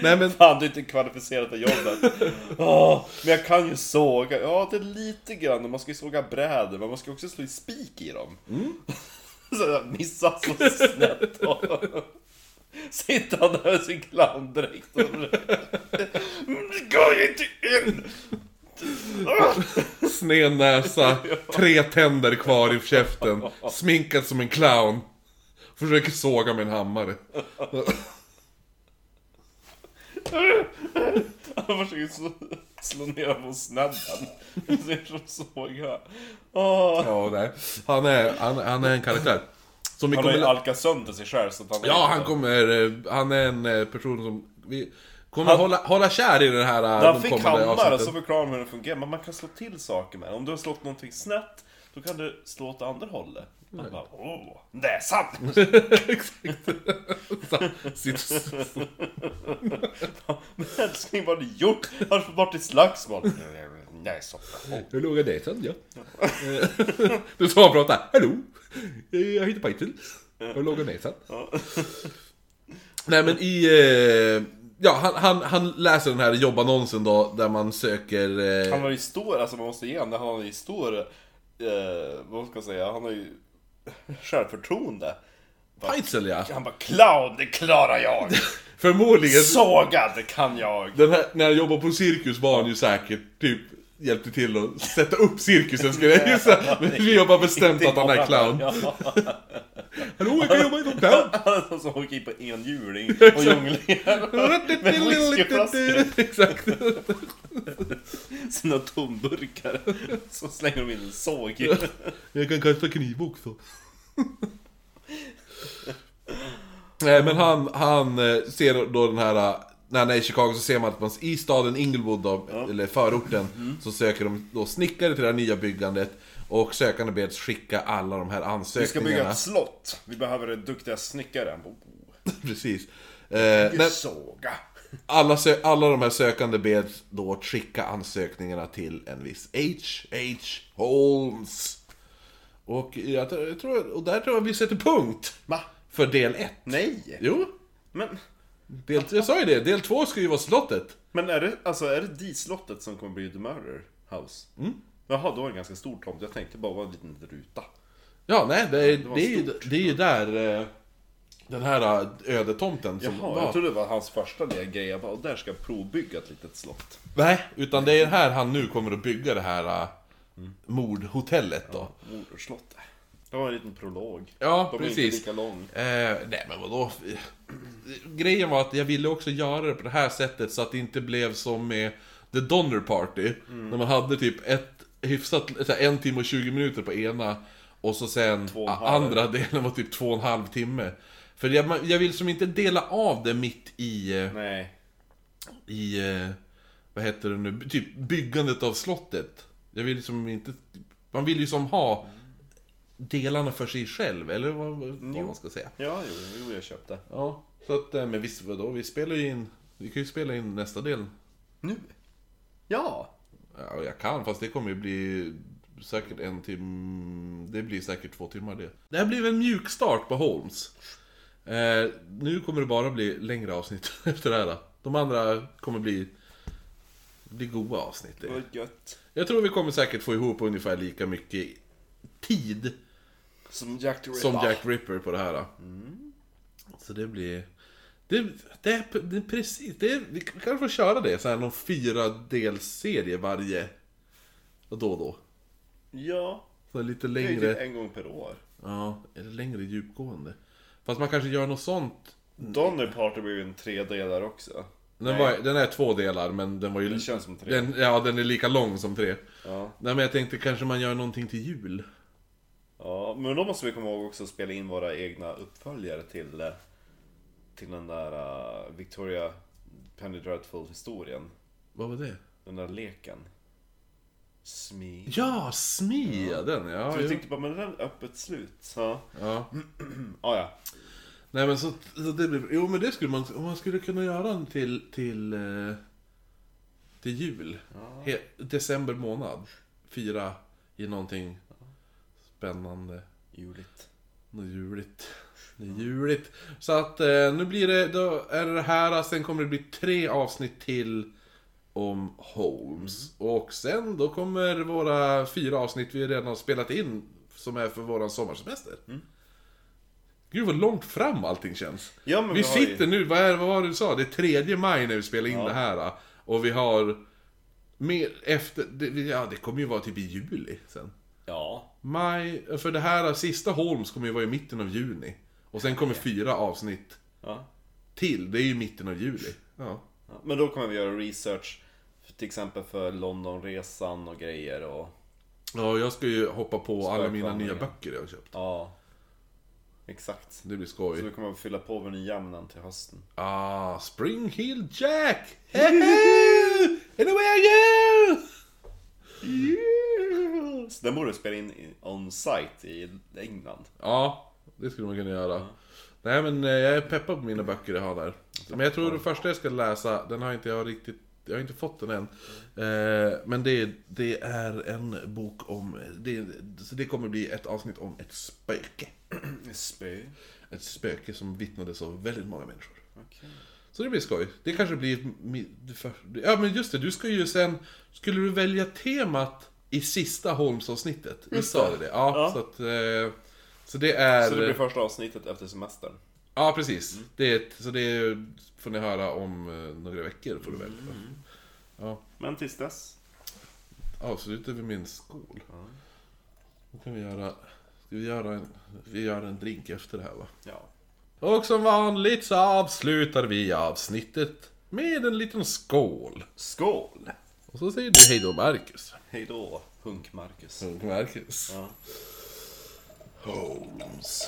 nej men...
Fan du är inte kvalificerad
[LAUGHS]
till jobbet. Åh, men jag kan ju såga, ja det är lite grann, och man ska ju såga brädor, men man ska också slå i spik i dem.
Mm.
[LAUGHS] så jag missar så snett. Sitter han där med sin clowndräkt och... Det går ju inte in!
Sned näsa, tre tänder kvar i käften, sminkad som en clown. Försöker såga med en hammare.
Han försöker slå, slå ner på snedden. Det ser ut som såga. Åh.
Ja, nej. Han, är, han, han är en karaktär. Som vi
Han har ju
kommer,
alkat sönder sig själv så att han...
ja, han kommer... eh, Han är en eh, person som vi kommer hålla, hålla kär i den här eh,
När
de
han fick
kommande
hammare
avsnitten.
så förklarar han hur den fungerar. Men man kan slå till saker med den. Om du har slått någonting snett, då kan du slå åt andra hållet. Han bara åh, näsan!
[LAUGHS]
[LAUGHS]
Exakt. Så- sitt-
Men älskling vad har du gjort? Har du varit i slagsmål? [LAUGHS] Näsan.
Hur låg är det sen? Ja. Eh, [LAUGHS] du sa och prata. Hallå! eh, Jag heter Pajtel. Hur låg är det sen? Nej men i... Eh, ja, han, han, han läser den här jobbannonsen då, där man söker...
Han
Eh,
har ju stor, alltså man måste ge honom det, han har ju stor, eh, vad ska jag säga, han har ju [LAUGHS] självförtroende.
Pajtel ja!
Han bara clown, det klarar jag!
Förmodligen.
Sågad kan jag!
Den här, när jag jobbade på cirkus var han ju säkert typ hjälpte till att sätta upp cirkusen skulle jag gissa. Men vi jobbar bestämt att han är clown.
[LAUGHS] Ja.
Hallå, jag kan jobba i
[LAUGHS]
downtown!
Han som åker in på
[LAUGHS]
enhjuling och jonglerar whiskyflaskor.
Exakt.
sina tomburkar. [LAUGHS] Så slänger de in en såg.
Jag kan kasta kniv också. Nej men han, han eh, ser då den här, eh, när han är i Chicago så ser man att man i staden Inglewood då, eller förorten,
Mm.
så söker de då snickare till det här nya byggandet. Och sökande beds skicka alla de här
Vi ska
ansökningarna.
bygga ett slott. Vi behöver duktiga snickare. Han bara, "Oh,
[LAUGHS] Precis. Eh, nej,
Såga.
alla, sö- alla de här sökande beds då att skicka ansökningarna till en viss H.H. Holmes. Och, jag, tror- jag tror, och där tror jag vi sätter punkt
Va?
för del 1.
Nej.
Jo,
Men,
del, jag sa ju det. Del 2 ska ju vara slottet.
men är det, alltså är det D-slottet som kommer bli The Murder House? Mm. Jaha, då är det en ganska stor tomt. Jag tänkte bara vara en liten ruta.
Ja, nej, det är,
var
det är, ju,
stort.
det är ju där eh, den här eh, ödetomten som
Jaha, jag trodde det var hans första lilla grej. Jag bara, och där ska jag provbygga ett litet slott.
Nej, utan det är här han nu kommer att bygga det här mm. mordhotellet då.
Morderslottet. Det var en liten prolog.
Ja,
De är inte
precis.
lika lång.
Eh, nej men vadå? Grejen var att jag ville också göra det på det här sättet så att det inte blev som med The Donner Party.
Mm.
När man hade typ ett hyfsat, så här, en timme och 20 minuter på ena och så sen
och en
a-
halv.
andra delen var typ två och en halv timme. För jag, man- jag vill som inte dela av det mitt i, eh,
Nej.
i eh, vad heter det nu, B- typ byggandet av slottet. Jag vill liksom inte, man vill ju som ha
Mm.
delarna för sig själv, eller vad, vad man ska säga.
Ja, jo, jo, jag köpte.
Ja, så att, eh, men visst vadå, vi spelar ju in, vi kan ju spela in nästa del.
Nu? Ja!
Ja, jag kan, fast det kommer ju bli säkert en timme, det blir säkert två timmar det. Det här blev en mjuk start på Holmes. Eh, nu kommer det bara bli längre avsnitt [LAUGHS] efter det här. De andra kommer bli, bli goda avsnitt. det.
Vad gött.
Jag tror vi kommer säkert få ihop ungefär lika mycket tid
Som Jack the
som
Ripper.
Jack Ripper på det här. Mm. Så det blir... Det, det, är, det är precis... Det är, vi kanske får köra det, så här någon fyra delserie varje... och Då och då.
Ja.
Så lite
Det är ju typ
längre...
en gång per år.
Ja, eller längre djupgående. Fast man kanske gör något sånt.
Donner Party blir ju en tredelare också.
Den,
Nej.
var, den är två delar, men den var ju...
Det känns som tre.
den, ja, den är lika lång som tre.
Ja.
Nej, men jag tänkte kanske man gör någonting till jul.
ja. Men då måste vi komma ihåg också att spela in våra egna uppföljare till eh, till den där eh, Victoria Penny Dreadful-historien.
Vad var det?
Den där leken. Smi.
Ja, Smi! Ja. Den ja.
Så jag
jo.
tänkte bara, men det där är öppet slut. Så,
ja.
ah, ja.
Nej men så, så det blir, jo men det skulle man, om man skulle kunna göra den till, till, eh, till jul. He, december månad. Fira i någonting spännande.
Juligt.
Något juligt. Det är juligt. Så att eh, nu blir det, då är det det här, sen kommer det bli tre avsnitt till om Holmes. Och sen då kommer våra fyra avsnitt vi redan har spelat in, som är för våran sommarsemester. Gud vad långt fram allting känns.
Ja, men
vi
vi har ju-
sitter nu, vad, är, vad var det du sa? Det är tredje maj när vi spelar in det här. Och vi har... Mer efter, det, ja det kommer ju vara typ i juli sen.
Ja.
Maj, för det här sista Holmes kommer ju vara i mitten av juni. Och sen kommer fyra avsnitt
ja.
till, det är ju mitten av juli. Ja.
Ja, Men då kommer vi göra research, för- till exempel för Londonresan och grejer och...
Ja, jag ska ju hoppa på alla mina nya
Spökvandringen.
böcker jag har köpt.
Ja, exakt.
Det blir
Så
skoj.
vi kommer att fylla på med nya ämnen till hösten.
Ah, Spring Hill Jack! Hey! And away I go!
Så den borde vi spela in i- on site i England.
Ja, det skulle man kunna göra. Nej men eh, jag är peppad på mina böcker jag har där. Men jag tror den första jag ska läsa, den har inte jag riktigt, jag har inte fått den än. Eh, Men det, det är en bok om, det, så det kommer bli ett avsnitt om ett spöke.
Spö.
Ett spöke som vittnades av väldigt många människor.
Okej.
Så det blir skoj. Det kanske blir... mi- det för- Ja men just det, du ska ju sen... Skulle du välja temat i sista Holmes-avsnittet? Visst sa du det? Ja,
Ja.
så att... eh, Så det är...
Så det blir första avsnittet efter semestern.
Ja, precis. Det är, ett- så det får ni höra om eh, några veckor får du välja. Ja,
Men tills dess.
avslutar vi min skål. Då kan vi göra... Ska vi göra en... Vi gör en drink efter det här va?
Ja.
Och som vanligt så avslutar vi avsnittet med en liten skål.
Skål!
Och så säger du hej då Marcus.
Hej då, Hunk Marcus.
Marcus.
Ja.
Holmes.